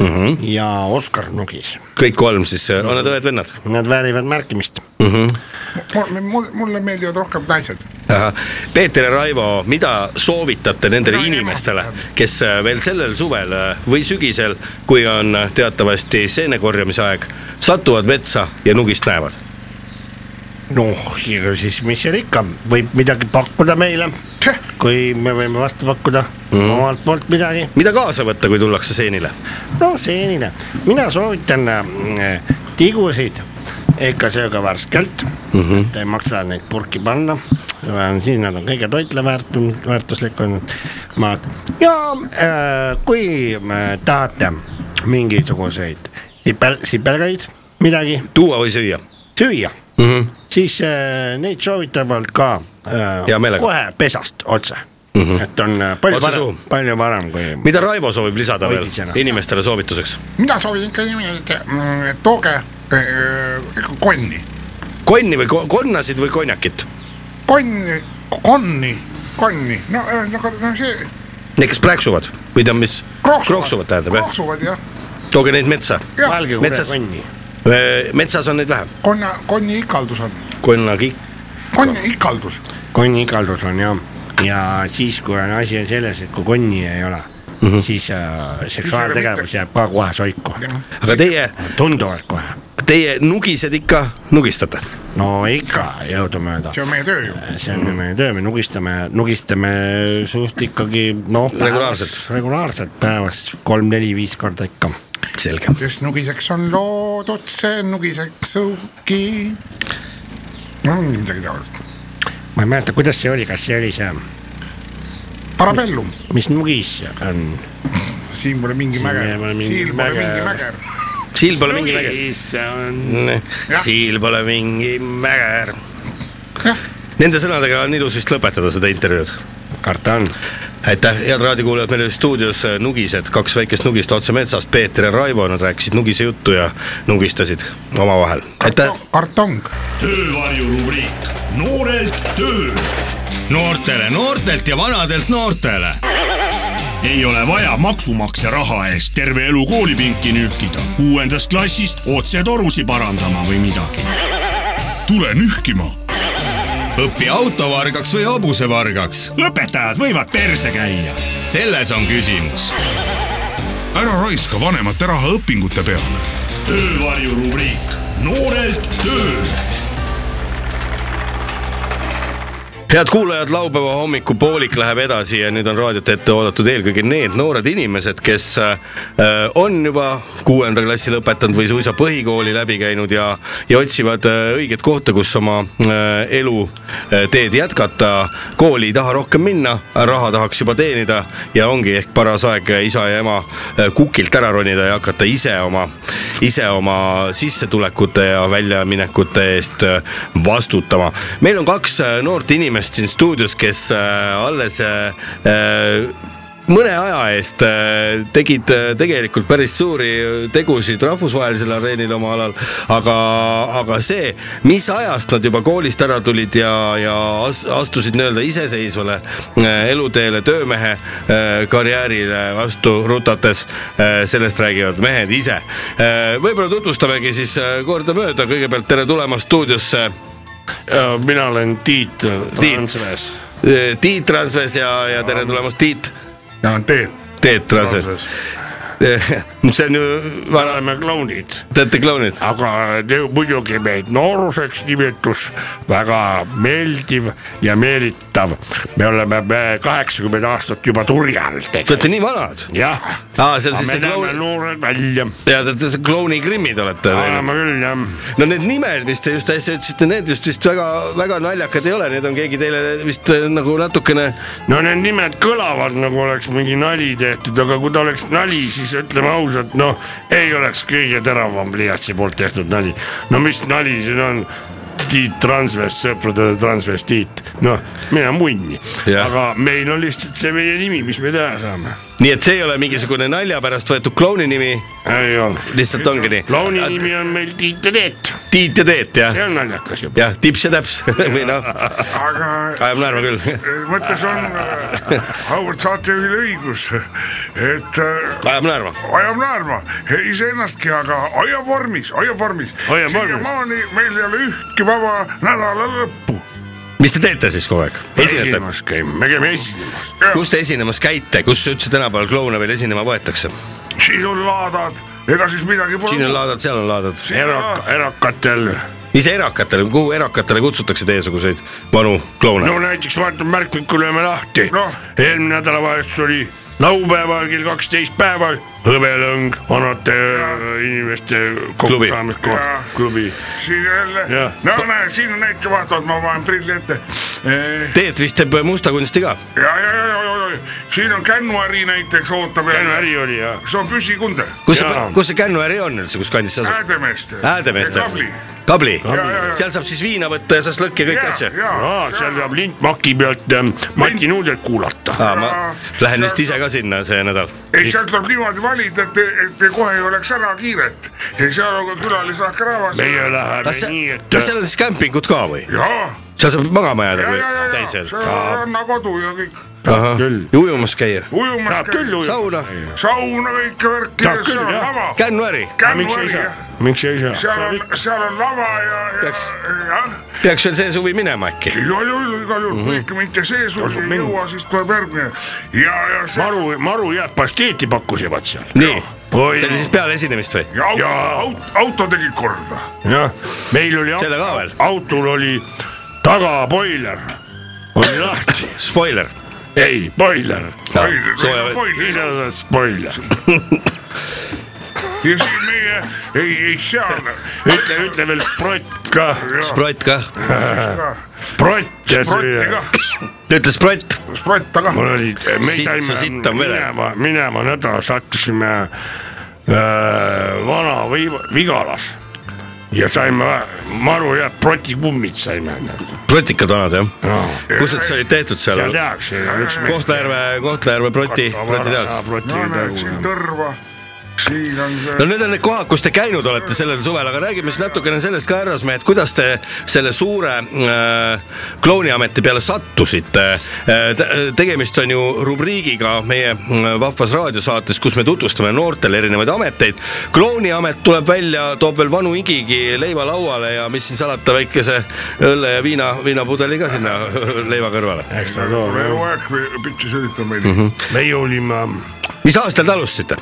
B: mm -hmm. ja Oskar Nugis .
A: kõik kolm siis , on nad õed-vennad ?
B: Nad väärivad märkimist .
C: mulle , mulle meeldivad rohkem naised .
A: Peeter ja Raivo , mida soovitate nendele
C: No,
A: inimestele , kes äh, veel sellel suvel äh, või sügisel , kui on äh, teatavasti seenekorjamise aeg , satuvad metsa ja nugist näevad ?
B: noh , ega siis mis seal ikka , võib midagi pakkuda meile , kui me võime vastu pakkuda mm. omalt poolt midagi .
A: mida kaasa võtta , kui tullakse seenile ?
B: no seenine , mina soovitan äh, tigusid ikka sööga värskelt mm , -hmm. et ei maksa neid purki panna . siin nad on kõige toitleväärt- , väärtuslikumad maad ja äh, kui äh, tahate mingisuguseid sipel- , sipelgaid , midagi
A: tuua või süüa ?
B: süüa mm ,
A: Mhm.
B: -hmm. siis äh, neid soovitavalt ka
A: Hea
B: äh,
A: meelega. Mhm.
B: kohe pesast otse mm , -hmm. et on äh, palju
A: Otse
B: parem
A: suhu. ,
B: palju parem kui .
A: mida Raivo soovib lisada veel
B: Hoidis ära.
A: inimestele soovituseks ?
C: mina soovin ikka niimoodi , et mm, et tooge äh, ikka konni ,
A: konni või ko- konnasid või konjakit ?
C: konni , konni , konni , no ühesõnaga , no see
A: Need , kes plääksuvad või tead mis ? krooksuvad tähendab jah ,
C: krooksuvad jah ,
A: tooge neid metsa .
C: jah ,
B: valge kuure
A: metsas.
B: konni ,
A: metsas on neid vähem ,
C: konna , konni ikaldus on ,
A: konnakikk .
C: konni ikaldus ,
B: konni ikaldus on jah , ja siis , kui on asi on selles , et kui konni ei ole mm ,
A: Mhm.
B: -hmm. siis äh, seksuaaltegevus jääb ka kohe soiku ,
A: aga teie ,
B: tunduvalt kohe .
A: teie nugised ikka nugistate ?
B: no ikka jõudumööda ,
C: see on meie töö ju .
B: see on ju meie töö , me nugistame , nugistame suht ikkagi noh .
A: Regulaarselt. .
B: regulaarselt päevas kolm-neli-viis korda ikka
A: selge .
C: kes nugiseks on loodud , see nugiseks õuki . no ongi midagi taolist ,
B: ma ei mäleta , kuidas see oli , kas see oli see ,
C: parabellum ,
B: mis nugis see on ?
C: siin pole mingi mäger
B: ei ole , mingi
C: siin pole
B: mäge.
C: mingi mäger ,
A: siil pole mingi mäger .
C: Jah.
A: siil pole mingi mäger .
C: jah ,
A: Nende sõnadega on ilus vist lõpetada seda intervjuud .
B: karta on .
A: aitäh , head raadiokuulajad , meil oli stuudios äh, nugised , kaks väikest nugist otse metsast , Peeter ja Raivo , nad rääkisid nugise juttu ja nugistasid omavahel . aitäh .
C: kartong .
E: töövarjurubriik noorelt tööle .
A: noortele noortelt ja vanadelt noortele .
E: ei ole vaja maksumaksja raha eest terve elu koolipinki nühkida , kuuendast klassist otsetorusid parandama või midagi . tule nühkima .
A: õpi autovargaks või hobusevargaks ,
E: õpetajad võivad perse käia .
A: selles on küsimus .
J: ära raiska vanemate raha õpingute peale .
E: töövarjurubriik noorelt tööle .
A: head kuulajad , laupäeva hommikupoolik läheb edasi ja nüüd on raadiot ette oodatud eelkõige need noored inimesed , kes äh, on juba kuuenda klassi lõpetanud või suisa põhikooli läbi käinud ja , ja otsivad äh, õiget kohta , kus oma äh, elu äh, teed jätkata . kooli ei taha rohkem minna , raha tahaks juba teenida ja ongi ehk paras aeg isa ja ema äh, kukilt ära ronida ja hakata ise oma , ise oma sissetulekute ja väljaminekute eest äh, vastutama . meil on kaks äh, noort inimest siin stuudios , kes äh, alles äh, äh, mõne aja eest äh, tegid äh, tegelikult päris suuri äh, tegusid rahvusvahelisel areenil oma alal , aga , aga see , mis ajast nad juba koolist ära tulid ja , ja as- astusid nii-öelda iseseisvale äh, eluteele , töömehe äh, karjäärile vastu rutates , sellest räägivad mehed ise . võib-olla tutvustamegi siis äh, kordamööda , kõigepealt tere tulemast stuudiosse
I: mina olen Tiit
A: Tiit.
I: Transves .
A: Eh, äh, Tiit Transves ja , ja tere tulemast Tiit
C: ja on teed .
A: Teet Transves . Eh, see on ju
B: me
A: vana ,
B: oleme klounid ,
A: te olete klounid .
B: aga ju muidugi meid nooruseks nimetus väga meeldiv ja meelitav . me oleme kaheksakümmend aastat juba turjal
A: Te
B: tegelikult ,
A: olete nii vanad .
B: jah .
A: aa , see on siis
B: me
A: see
B: näeme
A: kloun ,
B: noored välja ,
A: ja te olete see klouni grimmid olete teinud .
B: oleme küll jah
A: no need nimed , mis te just äsja ütlesite , need just vist väga-väga naljakad ei ole , need on keegi teile vist eh, nagu natukene
B: no need nimed kõlavad nagu oleks mingi nali tehtud , aga kui ta oleks nali , siis ütleme ausalt , noh , ei oleks kõige teravam pliiatsi poolt tehtud nali . no mis nali siin on ? Tiit Transvest , sõprade transvestiit , noh , mine munni .
A: Jah.
B: aga meil on lihtsalt see meie nimi , mis me teha saame .
A: nii et see ei ole mingisugune nalja pärast võetud klouni nimi ,
B: ei ole .
A: lihtsalt ongi nii .
B: klouni nimi on meil Tiit ja Teet ,
A: Tiit ja Teet jah ,
B: see on naljakas juba .
A: jah tips ja täps *laughs* või noh ,
C: aga
A: ajab naerma küll ,
C: mõttes on äh, auväärt saatejuhil õigus , et äh,
A: ajab naerma .
C: ajab naerma iseennastki , aga aia vormis , aia vormis .
B: Hoia vormis.
C: siiamaani meil ei ole ühtki vaba nädala lõppu .
A: mis te teete siis kogu aeg ? esinete ?
B: esinemas käime , me käime esinemas .
A: kus te esinemas käite , kus üldse tänapäeval kloune veel esinema võetakse ?
C: siin on laadad , ega siis midagi pole .
A: siin on laadad , seal on laadad .
B: erak- , erakatel ,
A: mis erakatele , kuhu erakatele kutsutakse teiesuguseid vanu kloune
B: no ? näiteks vaatame märkmiku , lööme lahti
C: Noh.
B: eelmine nädalavahetus oli laupäeval kell kaksteist päeval hõbelõng vanate äh, inimeste
A: Klubi.
C: Jaa.
B: kokkusaamiskoht , klubi .
C: siin jälle
B: Jah. ,
C: no näe , siin on näiteks vaatavad , ma panen prilli ette .
A: Teet vist teeb musta kunsti ka .
C: ja , ja , ja , ja , ja siin on kännuäri näiteks ootab .
B: Käinu äri oli ja
C: see on püsikunde ,
A: kus see
B: Jaa. ,
A: kus see Kännuäri on üldse , kus kandis see asub ?
C: Häädemeeste .
A: Häädemeestel .
C: kabli .
A: kabli
C: Jaa, jaa, jaa. ?
A: seal saab siis viina võtta ja šašlõkki ja kõiki asju ?
B: Aa, seal saab lintmaki pealt ähm, Mati Nuudelt kuulata .
A: aa , ma lähen vist ise ka sinna see nädal .
C: ei , seal tuleb niimoodi valida , et , et kohe ei oleks ära kiiret . ja seal on ka külalisrahke rahvas .
B: meie
A: kas
B: läheme nii ,
A: seal ,
B: et
A: kas seal on siis kämpingut ka või ?
C: ja ,
A: seal saab magama jääda
C: ja ,
A: või
C: ja , ja , ja ,
A: täis
C: see
A: jääda ?
C: on rannakodu ja kõik .
B: küll.
A: ja ujumas käia ,
B: saab
C: ujumas
B: küll , ujuda .
A: sauna ,
C: sauna kõike värki
B: Saab , küll,
C: seal on
B: jah.
C: lava .
A: Kännuäri ,
B: miks ei
C: kännuäri
B: saa
C: ja ,
B: miks ei saa ?
C: seal on , seal on lava ja , ja
A: Peaks- ,
C: jah .
A: peaks veel see suvi minema äkki .
C: igal juhul , igal juhul kõik , mitte see suvi ei
B: minna.
C: jõua , siis tuleb järgmine . ja , ja see
B: maru , maru head pasteeti pakkusivad seal .
A: nii ,
B: Oi.
A: see oli siis peale esinemist või ?
C: ja auto
B: Jaa. ,
C: auto, auto tegi korda .
B: jah , meil oli
A: Selle ka veel?
B: autol oli tagaboiler oli lahti ,
A: Spoiler ,
B: ei boiler ,
A: sooja-
B: iseenesest boiler ,
C: ja siis meie , ei , ei seal .
B: ütle , ütle veel sprott ka ,
A: sprott kah ,
B: sprott ja
C: Sprotti
B: see ,
C: kah ,
A: ta ütles sprott ,
C: sprotta kah .
B: mul oli , me
A: Sitt- sitt
B: saime
A: on vedel.
B: minema , minema nädala sattusime äh, vana Viiva- Vigalas ja saime maru head protikummid saime ,
A: protikad vanad jah ,
B: noh ,
A: kus need siis olid tehtud seal
B: seal ? tehakse üks
A: Kohtla-Järve , Kohtla-Järve proti , protitehas .
C: no näed
B: protitehas
C: siin . Tõrva , siin on
A: no
C: see ,
A: need on need kohad , kus te käinud olete sellel suvel , aga räägime siis natukene sellest ka , härrasmehed , kuidas te selle suure äh, klouniameti peale sattusite äh, . tegemist on ju rubriigiga meie äh, vahvas raadiosaates , kus me tutvustame noortele erinevaid ameteid . klouniamet tuleb välja , toob veel vanu igigi leiva lauale ja mis siin salata , väikese õlle ja viina , viinapudeli ka sinna *laughs* leiva kõrvale .
B: eks ta toob jah .
C: eluaeg pitsi sõlitab meile .
B: meie olime ,
A: mis aastal te alustasite ?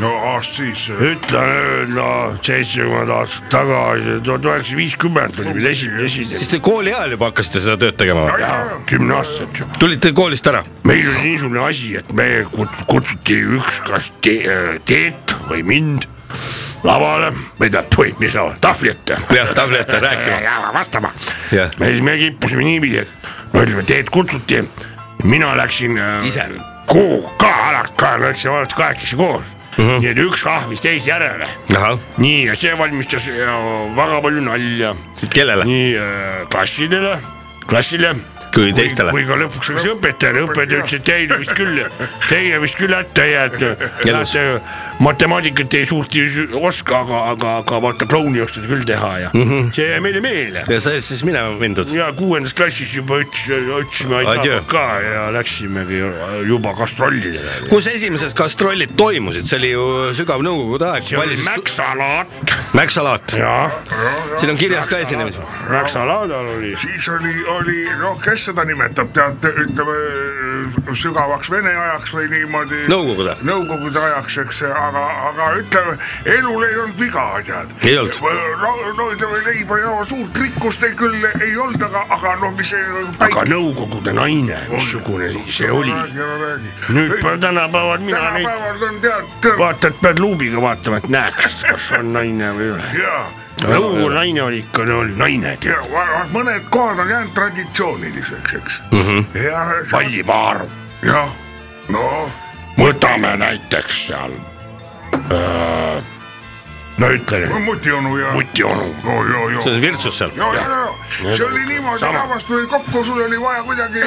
C: no aast siis , äh,
B: ütleme no seitsekümmend aastat tagasi , tuhat üheksasada viiskümmend oli meil esimene esinemine ,
A: siis te kooli ajal juba hakkasite seda tööd tegema või ?
B: kümneaastaselt juba .
A: tulite koolist ära ?
B: meil oli niisugune asi , et me kuts- kutsuti üks , kas te, Teet või mind lavale , ma ei tea , või mis lavale , tahvli ette .
A: Jah, tahvli ette rääkima.
B: ja vastama . ja
A: Jah.
B: siis me kippusime niiviisi , et no ütleme , Teet kutsuti , mina läksin .
A: Ise.
B: kuhu ka , alati ka läksime alati kahekesi koos mm .
A: Mhm.
B: -hmm. nii et üks ahvis teise järele .
A: ahah ,
B: nii , ja see valmistas ja, väga palju nalja
A: kellele ?
B: nii äh, klassidele , klassile
A: kui teistele
B: kui . ka lõpuks läks õpetajale , õpetaja ütles , et teil vist küll , teie vist küll hätta jääte ,
A: Elus.
B: lähete matemaatikat ei suurt ei sü- oska , aga , aga , aga vaata klouni oskate küll teha ja mm -hmm. see jäi meile meelde .
A: ja sai siis minema mindud .
B: ja kuuendas klassis juba ütles , ütlesime
A: Adjöö.
B: aitäh ka ja läksimegi juba gastrollile .
A: kus esimesed gastrollid toimusid , see oli ju sügav nõukogude aeg .
B: see oli Mäksalaat .
A: Mäksalaat ,
B: jah ,
A: siin on kirjas ka esinemised .
B: Mäksalaadal oli
C: siis oli , oli noh , kes
K: kes seda nimetab , tead , ütleme sügavaks vene ajaks või niimoodi .
A: Nõukogude.
K: Nõukogude ajaks , eks , aga , aga ütleme , elul ei olnud viga , tead .
A: Ei olnud.
K: no , no ütleme , leiba ja suurt rikkust ei küll ei olnud , aga , aga no mis see .
B: aga Nõukogude naine , missugune see oli . nüüd
K: nüüd
B: pa- tänapäeval mina neid
K: tänapäeval on tead , tead ,
B: vaatad , pead luubiga vaatama , et näeks , kas on naine või ei ole .
K: jaa
B: Nõukogude naine oli ikka , no oli naine ,
K: ja va- mõned kohad on jäänud traditsiooniliseks , eks mm .
A: Mhm.
K: -hmm. ja ,
B: pallipaar ,
K: jah , no
B: võtame näiteks seal . no ütle nüüd ,
K: mutionu ja .
B: mutionu .
K: no joo , joo .
A: see on Virtsus seal .
K: ja , ja , ja see oli niimoodi ,
B: Sama.
K: rahvas tuli kokku , sul oli vaja kuidagi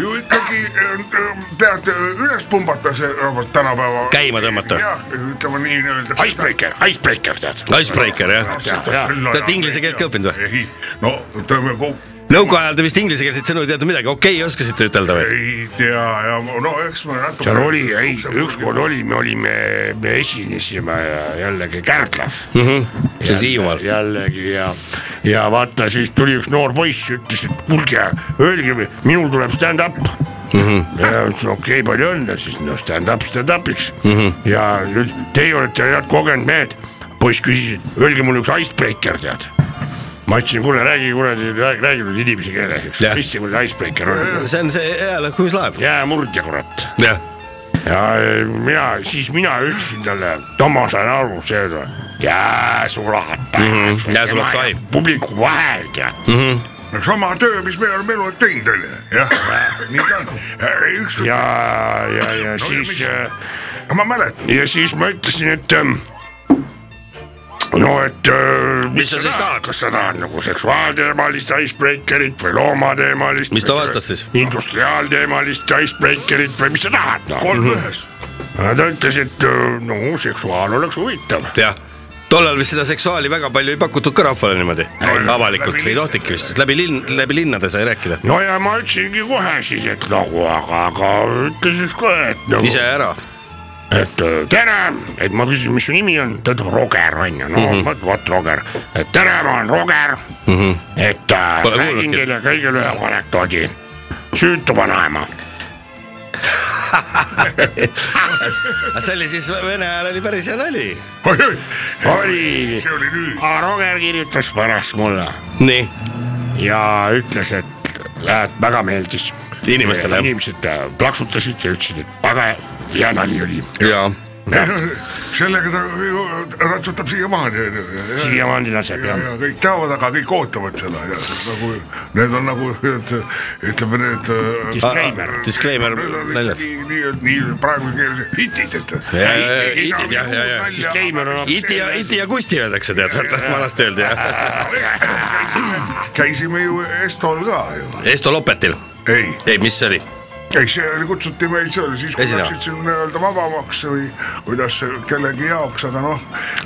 K: ju ikkagi äh, äh, tead äh, üles pumbata see rahvas tänapäeva .
A: Käima tõmmata.
K: jah , ütleme nii-öelda .
B: Icebreaker , Icebreaker tead .
A: Icebreaker jah . Te olete inglise keelt ka õppinud või ?
K: ei , no ütleme kogu
A: nõukaajal te vist inglisekeelseid sõnu ei teadnud midagi , okei okay, , oskasite ütelda või ?
K: ei tea ja no eks me natuke .
B: seal oli , ei , ükskord oli , me olime , me esinesime jällegi Kärdlas mm . -hmm.
A: See on Mhm. Hiiumaal.
B: jällegi ja , ja vaata , siis tuli üks noor poiss , ütles , et kuulge , öelge , minul tuleb stand-up mm .
A: Mhm.
B: -hmm. ja ütlesin , okei okay, , palju õnne , siis no stand-up stand-up'iks mm .
A: Mhm.
B: -hmm. ja nüüd teie olete head kogenud mehed , poiss küsis , et öelge mulle üks icebreaker , tead ma ütlesin , kuule räägi kuradi , räägi , räägi nüüd inimese keeles , eks
A: Jah. ,
B: mis see kuradi icebreaker on ,
A: see on see hea lõhkumislaev .
B: jäämurdja kurat
A: jah ,
B: ja eh, mina , siis mina ütlesin talle , Toma , sain aru , see on jää sulata mm .
A: Mhm, jää sulab sai. . Mhm.
B: publiku vahel tead mm .
K: sama töö , mis me oleme elu teinud , onju , jah , nii ta on . üks ,
B: ja , ja , ja
K: ja
B: siis eh,
K: mis- , ma mäletan ,
B: ja siis ma ütlesin , et ähm, no et äh, mis, mis
A: sa siis tahad?
B: kas sa tahad nagu seksuaalteemalist icebreakerit või loomateemalist ?
A: Mis ta vastas siis?
B: industriaalteemalist icebreakerit või mis sa tahad no? ?
A: Mhm.
K: kolm ühes .
B: ta ütles , et äh, no seksuaal oleks huvitav .
A: jah . tollal vist seda seksuaali väga palju ei pakutud ka rahvale niimoodi avalikult , ei tohtinudki vist , läbi linn , läbi linnade sai rääkida .
B: no ja ma ütlesingi kohe siis , et nagu , aga , aga ütle siis kohe , et nagu ,
A: ise ära ,
B: et äh, tere , et ma küsin , mis su nimi on , ta ütleb Roger onju , no mm -hmm. vot Roger , et tere , ma olen Roger mm , -hmm. et äh,
A: Pole
B: räägin
A: kuulnudki.
B: teile kõigile ühe anekdoodi , süütu vanaema ,
A: see oli siis vene ajal oli päris hea nali .
K: oi-oi ,
B: oli ,
K: see oli nüüd .
B: aga Roger kirjutas pärast mulle
A: nii ,
B: ja ütles , et äh, väga meeldis .
A: Inimestele, jah.
B: inimesed äh, plaksutasid ja ütlesid , et väga hea nali oli ,
A: jaa ,
K: *coughs* sellega ta ju ratsutab siiamaani , onju .
B: siiamaani laseb
K: ja
B: jah ,
K: ja kõik teavad , aga kõik ootavad seda ja nagu need on nagu need ütleme , need . äh,
B: disclaimer .
A: disclaimer naljad .
K: nii-öelda nii praegu keeles hitid , et .
A: Ja, ja, ja, hitid, jah, ja, ja.
B: Disclaimer on
A: Iti ja , Iti ja Kusti öeldakse tead , vanasti öeldi jah .
K: käisime ju Estol ka ju ,
A: Esto Lopetil ,
K: ei
A: ei , mis see oli ?
K: ei , see oli , kutsuti meid seal siis , kui
A: Esinema.
K: läksid siin nii-öelda vabamaks või kuidas see kellegi jaoks , aga noh ,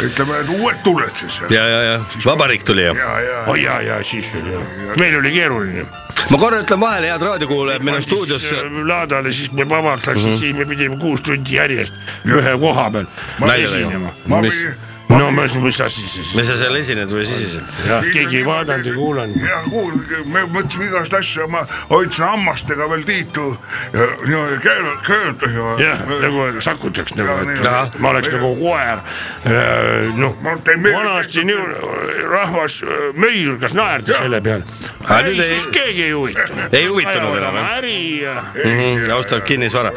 K: ütleme , et uued tuled siis .
A: ja , ja , ja Vabariik tuli ju .
K: ja , ja
B: oi ja , ja siis veel jah , meil oli keeruline .
A: ma korra ütlen vahele , head raadiokuulajad , meil on Mhm. stuudios .
B: äh, laadale , siis me vabaks läksime , siis me pidime kuus tundi järjest ühe koha peal
A: Nalja
B: esinema .
K: ma
A: mis ,
K: pidi-
B: no ma ütlesin , mis asi see siis ,
A: mis sa seal esined või sisesed ?
B: jah , Ah, keegi ei vaadanud ei kuulanud .
K: ja kuulge , me mõtlesime igast asju , ma hoidsin hammastega veel Tiitu ja niimoodi keeru- , keerutas ja .
B: jah , nagu sakutaks nagu
K: Jaa, , nii on.
B: et ma oleks nagu koer . noh ,
K: Ma teen meelde-
B: vanasti nii äh, rahvas äh, möirgas naerda selle peale .
A: Aga nüüd ei-
B: siis keegi ei huvitunud .
A: ei huvitunud enam, jah.
B: äri ja
A: austavad kinnisvara .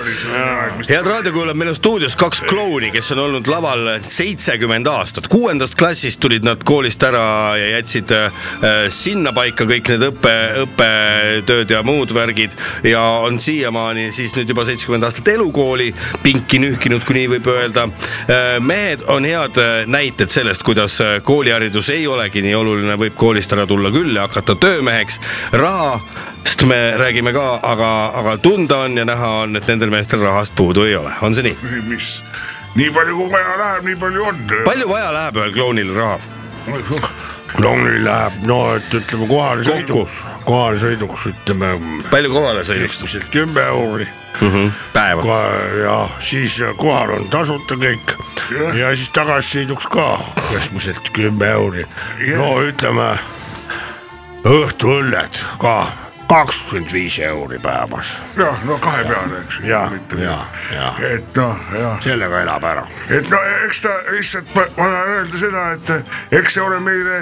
A: head raadiokuulajad , meil on stuudios kaks klouni , kes on olnud laval seitsekümmend aastat . kuuendast klassist tulid nad koolist ära ja jätsid äh, sinnapaika kõik need õppe , õppetööd ja muud värgid ja on siiamaani siis nüüd juba seitsekümmend aastat elukooli pinki nühkinud , kui nii võib öelda . mehed on head äh, näited sellest , kuidas äh, kooliharidus ei olegi nii oluline , võib koolist ära tulla küll ja hakata töömeheks . rahast me räägime ka , aga , aga tunda on ja näha on , et nendel meestel rahast puudu ei ole , on see nii ?
K: mis , nii palju kui vaja läheb , nii palju on .
A: palju vaja läheb ühel klounil raha ?
B: klounil läheb , no et ütleme kohalsõiduks , kohalsõiduks ütleme
A: palju kohale sõidust ?
B: keskmiselt kümme euri
A: päeva .
B: Ko- ja siis äh, kohal on tasuta kõik ja siis tagasisõiduks ka keskmiselt kümme euri . no ütleme õhtuõlled ka kakskümmend viis euri päevas .
K: noh , no kahepeale , eks .
B: ja , ja , ja
K: et noh , jah ,
B: sellega elab ära .
K: et no eks ta lihtsalt , ma ma tahan öelda seda , et eh, eks see ole meile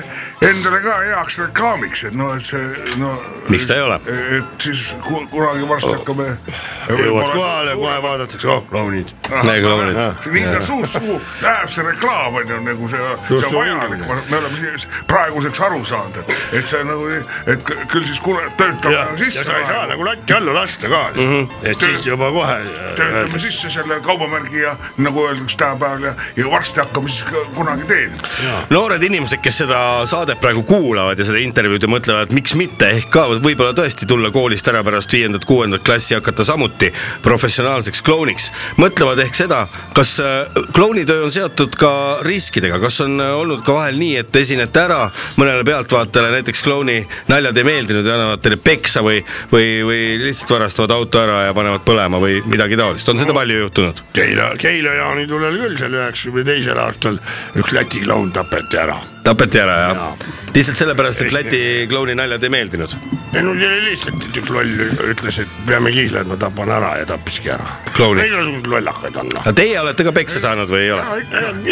K: endale ka heaks reklaamiks , et noh , et see no .
A: Miks ta ei ole?
K: et siis ku- kunagi varsti hakkame .
B: Oh. jõuad kohale , kohe vaadatakse , oh , klounid .
A: Nee, klounid.
K: nii ta suust suhu läheb see reklaam on ju nagu see , see
B: Suust
K: on
B: suhu
K: vajalik , me oleme siis praeguseks aru saanud , et , et see nagu , et kü- küll siis kuule , töötame
B: ja , ja
K: sisse .
B: sa ei saa nagu latti alla lasta ka mm . -hmm. et siis juba kohe .
A: äh,
K: töötame sisse selle kaubamärgi ja nagu öeldakse tänapäeval ja , ja varsti hakkame siis ka kunagi teenima .
A: noored inimesed , kes seda saadet praegu kuulavad ja seda intervjuud ja mõtlevad , miks mitte , ehk ka võib-olla tõesti tulla koolist ära pärast viiendat-kuuendat klassi ja hakata samuti professionaalseks klouniks . mõtlevad ehk seda , kas äh, klounitöö on seotud ka riskidega , kas on äh, olnud ka vahel nii , et esinete ära mõnele pealtvaatajale , näiteks klouni naljad ei meeldinud ja annavad teile peksa või , või , või lihtsalt varastavad auto ära ja panevad põlema või midagi taolist , on seda palju juhtunud ?
B: Keila , Keila jaanitulel küll seal üheksakümne teisel aastal üks Läti kloun tapeti ära .
A: tapeti ära ja
B: Jaa.
A: lihtsalt sellepärast , et Läti klouni naljad ei meeldinud
B: ei no see oli lihtsalt , et üks loll ütles , et peame kihlema , tapan ära ja tappiski ära .
A: Klouni.
B: igasuguseid lollakaid on noh .
A: aga teie olete ka peksa saanud või ei ole ?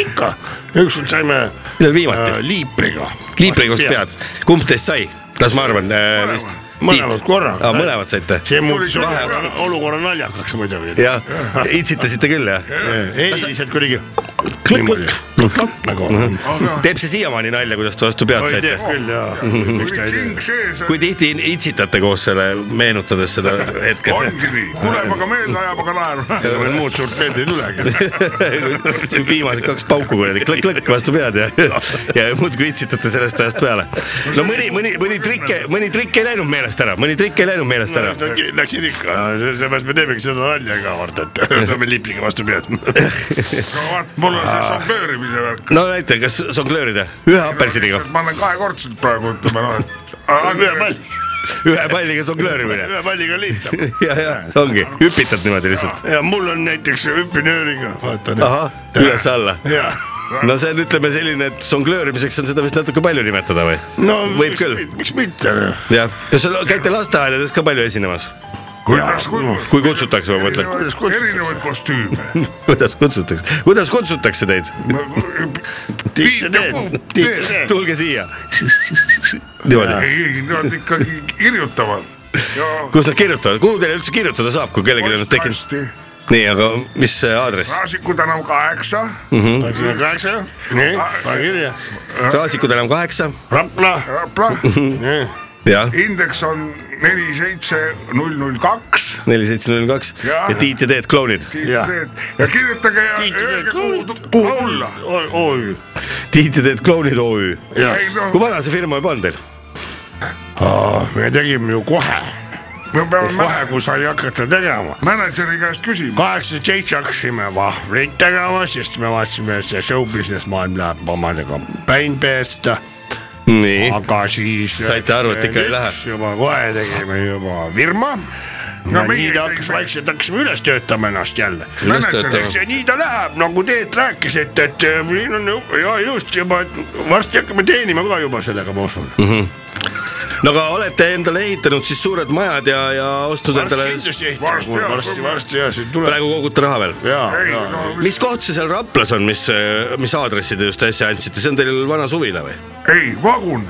B: ikka , ükskord saime äh,
A: millal viimati ?
B: liipriga .
A: liiprikust pead , kumb teist sai ? las ma arvan äh, vist .
B: mõlemad korraga.
A: mõlemad saite .
B: see muutis
A: Tuli
B: vahe
A: sulle
B: olukorra naljakaks muidugi .
A: jah , itsitasite küll jah ?
B: eelised kuidagi . nagu .
A: Mhm. teeb see siiamaani nalja , kuidas te vastu pead
B: ei
A: saite
B: tea ? küll jaa . miks ta ei tee
K: hing sees
A: kui tihti itsitate koos selle , meenutades
B: *laughs*
A: seda hetke ?
K: ongi nii , tuleb aga meelde , ajab aga
A: *laughs*
K: naeru .
B: meil muud suurt meelde ei tulegi .
A: viimased kaks pauku kuradi klõkk-klõkk vastu pead ja , ja muudkui itsitate sellest ajast peale . no mõni , mõni , mõni trikk , mõni trikk ei läinud meelest ära , mõni trikk ei läinud meelest ära .
B: Läksid ikka , sellepärast me teemegi seda nalja ka vaata , et saame liipriga vastu pead .
K: no vaat , mul on see žonglöörimise värk .
A: no näita , kas žonglöörida ühe apelsiniga ,
K: ma olen kahekordselt praegu ütleme noh ,
A: *laughs*
B: ühe
K: et .
B: palli ,
A: ühe palliga žonglöörimine .
B: ühe palliga on lihtsam .
A: *laughs* ja , ja ongi , hüpitad niimoodi lihtsalt .
B: ja mul on näiteks hüppinööriga , vaata .
A: ahah , üles-alla .
B: jaa .
A: no see on , ütleme selline , et žonglöörimiseks on seda vist natuke palju nimetada või ? võib küll ,
B: miks mitte . noh.
A: jah . kas sa käite lasteaedades ka palju esinemas ,
K: kuidas , kuidas ?
A: kui kutsutakse , ma mõtlen ,
B: Kuidas kutsutakse?
K: erinevaid kostüüme .
A: kuidas kutsutakse , kuidas kutsutakse teid ?
B: Tiit ja Teet , Tiit ja Teet .
A: tulge siia . niimoodi ,
K: ei , ei , nad ikkagi kirjutavad .
A: kus nad kirjutavad , kuhu teile üldse kirjutada saab , kui kellelgi on tekkinud , nii , aga mis see aadress ?
K: Raasiku tänav kaheksa ,
B: üheksakümmend kaheksa , Ah, nii , pane kirja .
A: Raasiku tänav kaheksa ,
B: Rapla ,
K: Rapla ,
B: nii ,
A: jah ,
K: indeks on neli , seitse , null , null , kaks
A: neli , seitse , null , kaks
K: Jah.
A: ja Tiit ja Teet klounid .
K: Tiit
B: Jah.
K: Teet ja kirjutage ja
B: Tiit ja Teet
K: öelge kuhu
B: klounid. ,
K: kuhu tulla .
B: OÜ ,
A: Tiit ja Teet klounid OÜ .
B: jah .
K: ei
A: kui
K: noh ,
A: vana see firma juba on teil ?
B: me tegime ju kohe ,
K: me peame
B: kohe
K: män-
B: kui sai hakata tegema .
K: mänedžeri käest küsima .
B: kaheksakümmend seitse hakkasime vahvleid tegema , sest me vaatasime , et see show business maailm läheb omadega päin peesta ,
A: nii
B: aga siis .
A: Saite aru, et ikka ei lähe.
B: juba kohe tegime juba firma .
K: No
B: ja
K: meie
B: nii ta hakkas
K: tegime-
B: vaikselt hakkasime üles töötama ennast jälle .
A: Üles töötama.
B: eks ja nii ta läheb , nagu Teet rääkis , et , et eh, siin on ju- ja just juba , et varsti hakkame teenima ka juba sellega , ma usun .
A: no aga olete endale ehitanud siis suured majad ja , ja ostnud endale ,
B: kindlasti
K: Varsti
B: ehitame ,
K: jah,
B: varsti , varsti ja siin tuleb .
A: praegu kogute raha veel ?
B: ja ,
K: ei
B: ja ,
K: no ,
A: mis koht see seal Raplas on , mis , mis aadressi te just äsja andsite , see on teil vana suvila või ?
K: ei vagun ,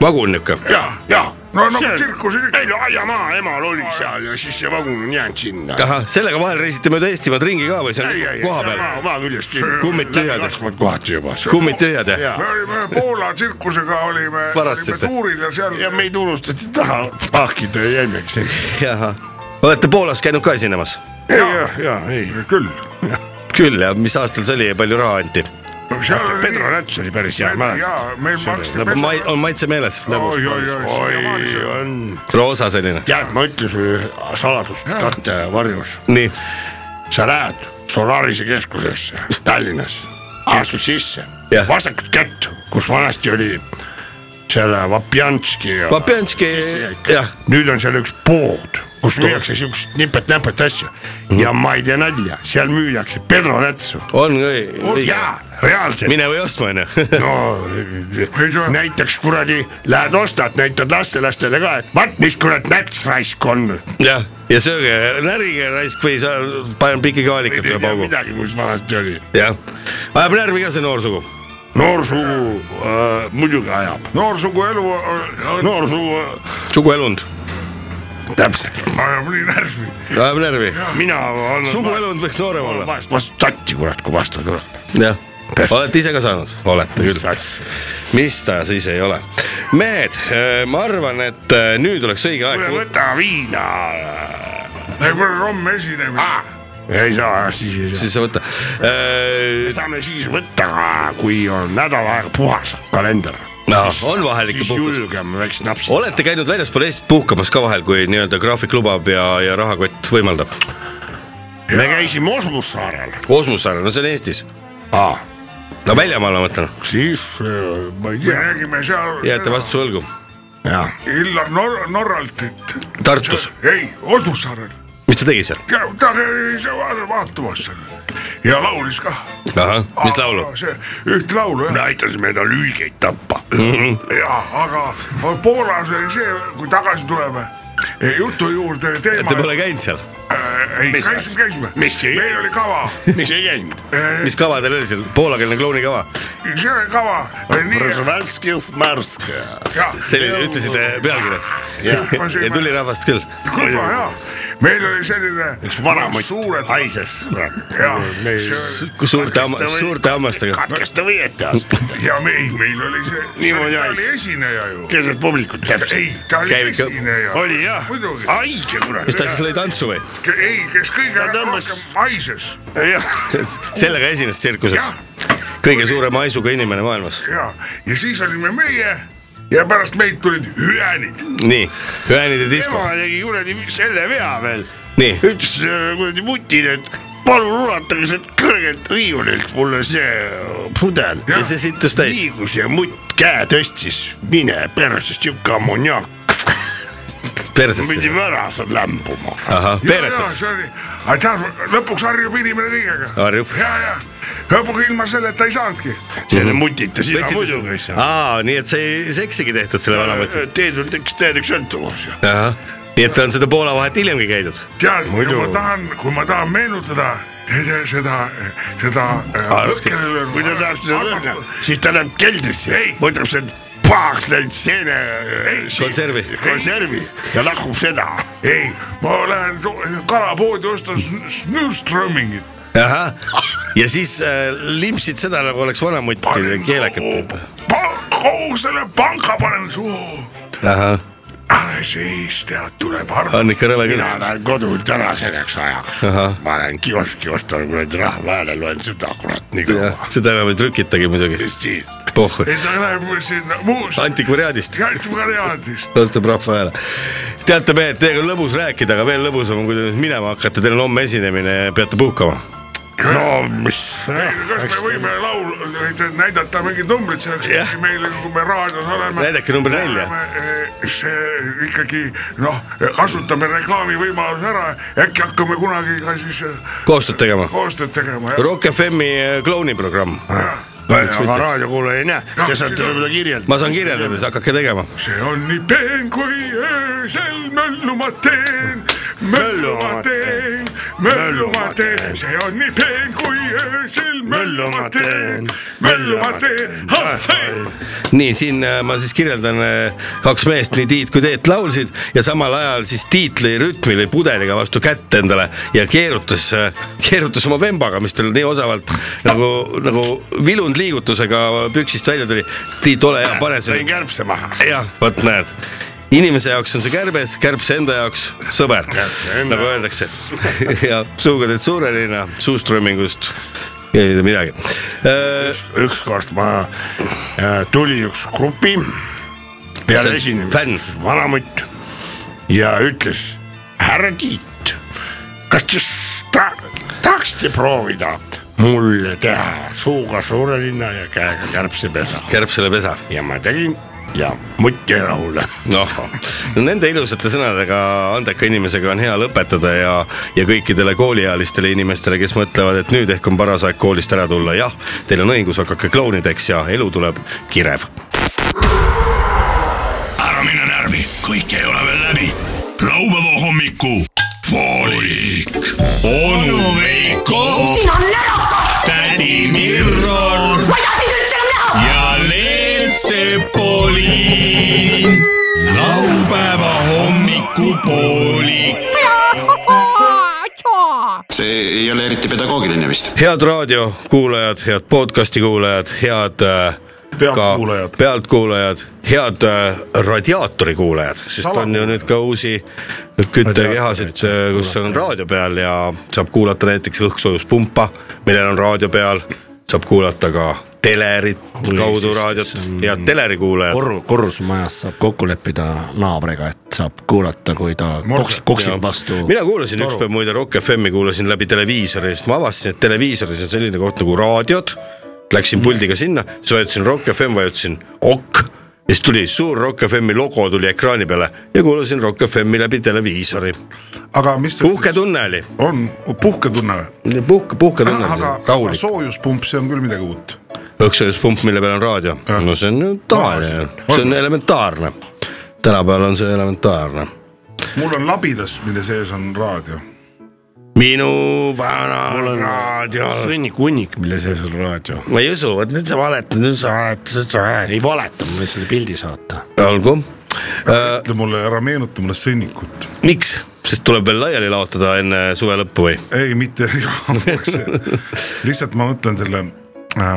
A: vagun niuke ?
B: ja , ja .
K: no nagu tsirkusel ikka
B: ei . no aiamaa emal oli seal ja siis see vagun on jäänud sinna .
A: ahah , sellega vahel reisite mööda Eestimaad ringi ka või seal
B: ei , ei ,
A: koha
B: ei ,
A: peal ?
B: maa , maa küljest .
A: Kummid tühjad.
B: kasvavad kohati juba .
A: kummid tühjad jah ?
B: ja
K: me , olime Poola tsirkusega olime , olime
A: Varastasite.
K: tuuril ja seal
B: ja meid unustati taha , pahkida jäime , eks .
A: olete Poolas käinud ka esinemas ?
B: ja , ja , ei .
K: küll .
A: küll ja mis aastal see oli ja palju raha anti ?
K: seal oli
B: Pedro
K: nii ,
B: Nats oli päris hea , mäletad ?
K: jaa , meil maksti .
A: Ma, on maitse meeles ?
K: oi , oi ,
B: oi ,
K: oi ,
B: on .
A: roosa selline .
B: tead , ma ütlen sulle saladust katte varjus .
A: nii ,
B: sa lähed Solarise keskusesse Tallinnas , astud sisse
A: Jah. ,
B: vasakut kätt , kus vanasti oli selle Vapjanski ja .
A: Papjanski , jah ,
B: nüüd on seal üks pood , kus müüakse siukest Mhm. nipet-näpet asju ja ma ei tee nalja , seal müüakse pedronätsu
A: on õi- õige .
B: ja reaalselt .
A: mine või ostma onju .
B: no näiteks kuradi lähed ostad , näitad lastelastele ka , et vaat mis kurat näts raisk on .
A: *laughs* jah , ja sööge , närige raisk või sa , panen piki kaalikat üle paugu .
B: midagi , mis vanasti oli .
A: jah , ajab närvi ka see noorsugu .
B: noorsugu äh, muidugi ajab ,
K: noorsugu elu no,
B: noorsugu
A: suguelund
B: täpselt ,
K: ajab nii närvi .
A: ajab närvi .
B: mina olen .
A: suguelund võiks noorem olla .
B: vahest vastu tatti kurat , kui vastu tuleb .
A: jah , olete ise ka saanud , olete küll . mis ta siis ei ole . mehed , ma arvan , et äh, nüüd oleks õige
B: kuule ,
A: aeg .
B: võta viina .
K: ei , mul on homme esinemine .
B: ei saa , siis ei saa .
A: siis Äh, võta .
B: saame siis võtta , kui on nädal aega puhas kalender .
A: on vahel ikka
B: siis
A: puhkus .
B: julgem väikse napsu .
A: olete käinud väljaspool Eestit puhkamas ka vahel , kui nii-öelda graafik lubab ja , ja rahakott võimaldab ?
B: me käisime Osmus saarel .
A: Osmus saarel , no see on Eestis . no väljamaal ma mõtlen ,
B: siis äh, ma ei tea .
K: räägime seal
A: jääte vastuse võlgu .
B: jah ,
K: Illar Nor Norraltit ,
A: Tartus ,
K: ei , Osmussaarel ,
A: mis ta tegi seal ?
K: ta käis vaatamas seal ja laulis kah .
A: ahah , mis laulu ?
K: üht laulu jah
B: me aitasime tal hülgeid tappa .
K: ja , aga Poolas oli see , kui tagasi tuleme , jutu juurde teema .
A: Te pole käinud seal ?
K: äh, . ei ,
B: Mis-
K: käisime , käisime ,
B: mis see-
K: meil oli kava ,
B: miks ei käinud ?
A: mis kava teil oli seal , poolakeelne klouni kava ?
K: see
B: *laughs*
K: kava oli nii ,
B: Przewalskis Marskas .
K: jah ,
A: selline , ütlesite äh, pealkirjaks . *laughs* ja tuli rahvast küll .
K: juba jaa , meil oli selline .
B: üks vanamott
K: suured ,
B: haises .
K: jah ,
A: suurte hamma- , suurte hammastega .
B: kas ta või ette astub ?
K: ja meil , meil oli see ,
B: Niimoodi
K: ta
B: hais-
K: oli esineja ju .
B: keset publikut
K: ei
B: täpselt . ,
K: ta oli
A: Käivik-
K: esineja .
B: oli jah
K: Muidugi. ,
B: haige kurat
A: mis . ta siis lõi tantsu või ? *laughs*
K: ei , kes kõige
B: Ta tõmbas-
K: rohkem haises
A: sellega esines tsirkuses
K: Jah. .
A: kõige suurema haisuga inimene maailmas .
K: ja , ja siis olime meie ja pärast meid tulid hüäänid .
A: nii , Ühenide disko ,
B: tema tegi kuradi selle vea veel ,
A: nii ,
B: ütles äh, kuradi mutile , et palun ulatage sealt kõrgelt riiulilt mulle see pudel .
A: ja see sittus täis .
B: liigus ja mutt käe tõstis , mine persest , siuke ammoniaak ,
A: persesse .
B: pidime ära seal lämbuma .
A: ahah , peeretas ,
K: see oli , aga tead , lõpuks harjub inimene kõigega .
A: harjub .
K: ja , ja lõpuks ilma selleta ei saanudki .
B: selle mutita sina muidugi Äh, ei saa .
A: Mhm. aa , nii et see ei seksigi tehtud selle vanamõttega .
B: Teedul tekkis täielik sõltuvus ju .
A: ahah , nii et on seda Poola vahet hiljemgi käidud .
K: tead , kui ma tahan , kui ma tahan meenutada seda , seda , seda . äh,
B: Ah, kui ta tahab seda lõhna , siis ta läheb keldrisse , võtab selle pahaks läinud seene .
A: konservi.
B: konservi ja lahkub seda .
K: ei , ma lähen su- kalapoodi ostan sn- Snurströmmingit .
A: ahah , ja siis äh, limpsid seda nagu oleks vanamutti keelekat .
K: kogu selle panka panen suhu .
A: ahah ,
K: siis tead , tuleb arv .
A: on ikka rõve Ah, küll .
B: mina lähen kodunt ära selleks ajaks
A: Ahah. .
B: ma lähen kioski ostan kuradi Rahva Hääle , loen seda kurat nii
A: jah
B: kaua .,
A: seda enam ei trükitagi muidugi .
B: mis siis ?
A: pohhu ,
K: ei ta läheb sinna muust ,
A: antikvariaadist
K: Kaitseväe-Riadist .
A: tõstab rahva hääle . teate mehed , teiega on lõbus rääkida , aga veel lõbusam on , kui te nüüd minema hakkate , teil on homme esinemine , peate puhkama .
B: no mis ,
K: kas me võime laulu , näidata mingid numbrid selleks
A: Jah. ,
K: meile , kui me raadios oleme .
A: Näidake number nelja. .
K: see ikkagi noh , kasutame reklaamivõimaluse ära , äkki hakkame kunagi ka siis eh,
A: koostööd tegema .
K: koostööd tegema .
A: Rock FM-i klouniprogramm .
B: aga raadiokuulaja ei näe , te saate võib-olla kirjeldada .
A: ma saan kirjeldada , siis hakake tegema .
K: see on nii peen , kui öösel möllu ma teen , möllu ma teen , möllu ma teen , see on nii peen , kui öösel möllu ma teen , möllu ma teen , ahhei .
A: nii , siin äh, ma siis kirjeldan äh, kaks meest , nii Tiit kui Teet laulsid ja samal ajal siis Tiit lõi rütmi , lõi pudeliga vastu kätt endale ja keerutas , keerutas oma vembaga , mis tal nii osavalt nagu , nagu vilund liigutusega püksist välja tuli . Tiit , ole hea , pane selle
B: lõin kärbse maha .
A: jah , vot näed , inimese jaoks on see kärbes , kärbse enda jaoks sõber , nagu öeldakse . *laughs* ja suuga teed suure linna , suust römmingust ei tea midagi . Äh,
B: ükskord ma äh, tuli üks grupi peale
A: See on fänn.
B: esinemist , vanamutt ja ütles , härra Tiit , kas te s- ta, tahaksite proovida mulle teha suuga suure linna ja käega kärbsepesa
A: kärbsele pesa ,
B: ja ma tegin ja mutiraule .
A: noh , no nende ilusate sõnadega andeka inimesega on hea lõpetada ja , ja kõikidele kooliealistele inimestele , kes mõtlevad , et nüüd ehk on paras aeg koolist ära tulla , jah , teil on õigus , hakake klounideks ja elu tuleb kirev
E: ära mine närvi , kõik ei ole veel läbi . laupäeva hommiku poolik . onu Veiko ,
F: siin on närakas ,
E: tädi Mirror
F: ma ei taha sind üldse enam näha .
E: ja Leelsepoliin . laupäeva hommiku poolik .
L: see ei ole eriti pedagoogiline vist .
A: head raadiokuulajad , head podcast'i kuulajad , head äh,
K: Pealtkuulajad.
A: ka pealtkuulajad , head äh, radiaatori kuulajad , sest on ju nüüd ka uusi küttekehasid , kus on raadio peal ja saab kuulata näiteks õhksoojuspumpa , millel on raadio peal , saab kuulata ka teleri kaudu
B: siis-
A: raadiot
B: siis on-
A: ja teleri kuulajad .
B: korru- , korrusmajas saab kokku leppida naabriga , et saab kuulata , kui ta koks- koksib vastu .
A: mina kuulasin ükspäev muide Rock FM-i kuulasin läbi televiisori , sest ma avastasin , et televiisoris on selline koht nagu raadiod . Läksin puldiga sinna , siis vajutasin Rock FM , vajutasin OK ja siis tuli suur Rock FM-i logo tuli ekraani peale ja kuulasin Rock FM-i läbi televiisori .
K: aga mis .
A: puhke . tunne oli ,
K: on puhketunne või ?
A: puhke , puhke tunne
K: aga
A: oli ,
K: aga
A: rahulik .
K: soojuspump , see on küll midagi uut .
A: õhksoojuspump , mille peal on raadio , no see on ju tavaline , see on elementaarne . tänapäeval on see elementaarne .
K: mul on labidas , mille sees on raadio .
A: minu vana raadio .
B: sõnnik hunnik , mille sees on raadio .
A: ma ei usu , vot nüüd sa valetad , nüüd sa valetad , nüüd sa valetad .
B: ei valeta , ma võin sulle pildi saata .
A: olgu ,
K: ütle mulle , ära meenuta mulle sõnnikut .
A: miks , sest tuleb veel laiali laotada enne suve lõppu või ?
K: ei , mitte *laughs* see lihtsalt ma mõtlen selle äh, ,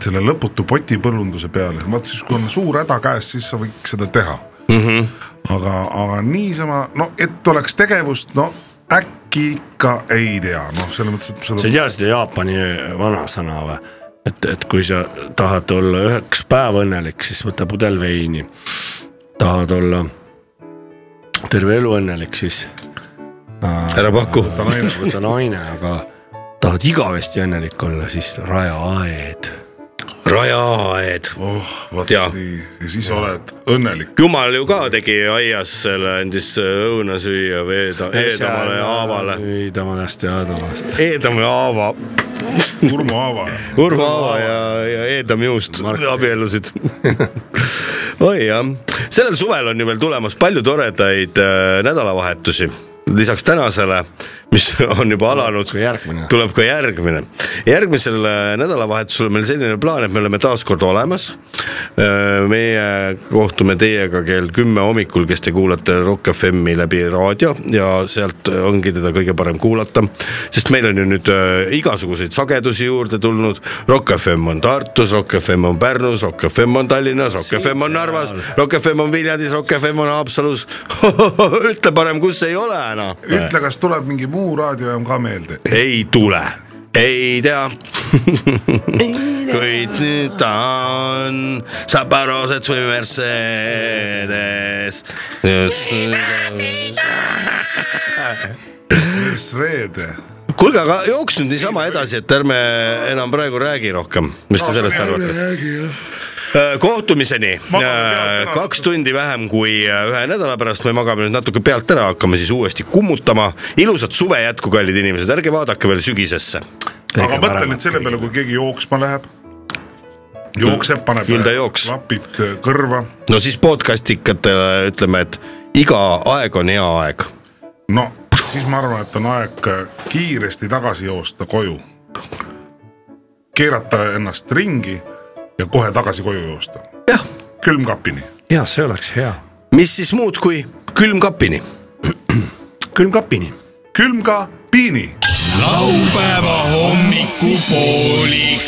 K: selle lõputu potipõllunduse peale , vaat siis , kui on suur häda käes , siis sa võiks seda teha mm . -hmm. aga , aga niisama , no et oleks tegevust , no äkki ikka ei tea , noh , selles mõttes , et
B: sa ei
K: seda
B: tea seda Jaapani vanasõna või ? et , et kui sa tahad olla üheks päeva õnnelik , siis võta pudel veini . tahad olla terve elu õnnelik , siis
A: ära paku ,
K: *laughs*
B: *laughs* võta naine , aga tahad igavesti õnnelik olla , siis raja aed .
A: rajaaed .
K: oh , vot
A: Jaa.
K: nii , ja siis oled õnnelik .
A: jumal ju ka tegi aias selle , andis õuna süüa veeda , Eedamale ja Aavale .
B: Eedamast ja Aadamast .
A: Eedam ja Aava ,
K: Urmo Aava ,
A: Urmo Aava ja , ja Eedam Juust abiellusid . *laughs* oi jah , sellel suvel on ju veel tulemas palju toredaid äh, nädalavahetusi lisaks tänasele , mis *laughs* on juba alanud
B: Kui , järgmine .
A: tuleb ka järgmine . järgmisel äh, nädalavahetusel on meil selline plaan , et me oleme taas kord olemas . meie kohtume teiega kell kümme hommikul , kes te kuulate Rock FM-i läbi raadio ja sealt ongi teda kõige parem kuulata . sest meil on ju nüüd äh, igasuguseid sagedusi juurde tulnud . Rock FM on Tartus , Rock FM on Pärnus , Rock FM on Tallinnas , Rock FM on Narvas , Rock FM on Viljandis , Rock FM on Haapsalus . *laughs* ütle parem , kus ei ole enam .
K: ütle , kas tuleb mingi muu raadiojaam ka meelde ?
A: ei tule , ei tea kuid nüüd ta on Saparosets või Mercedes .
K: reede ,
A: kuulge , aga jooks nüüd niisama edasi , et ärme enam praegu räägi rohkem , mis te sellest arvate . kohtumiseni , kaks tundi vähem kui äh, ühe nädala pärast , me magame nüüd natuke pealt ära , hakkame siis uuesti kummutama . ilusat suve jätku , kallid inimesed , ärge vaadake veel sügisesse ,
K: aga mõtle nüüd selle peale , kui keegi jooksma läheb . jookseb , paneb
A: Küll ta jooks.
K: klapid äh, kõrva
A: no siis podcast ikatele ütleme , et iga aeg on hea aeg
K: no siis ma arvan , et on aeg äh, kiiresti tagasi joosta koju . keerata ennast ringi ja kohe tagasi koju joosta .
A: jah ,
K: külmkapini .
B: ja see oleks hea .
A: mis siis muud kui külmkapini .
B: külmkapini .
K: külmkapiini .
E: laupäeva hommikupoolik .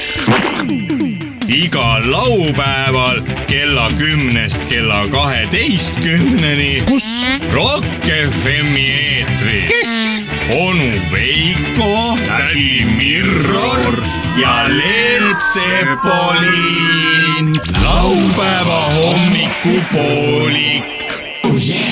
E: igal laupäeval kella kümnest kella kaheteistkümneni . kus ? Rock FM-i eetris . kes ? onu Veiko , tädi Mirror ja Leelt Sepolin . laupäeva hommikupoolik oh . Yeah.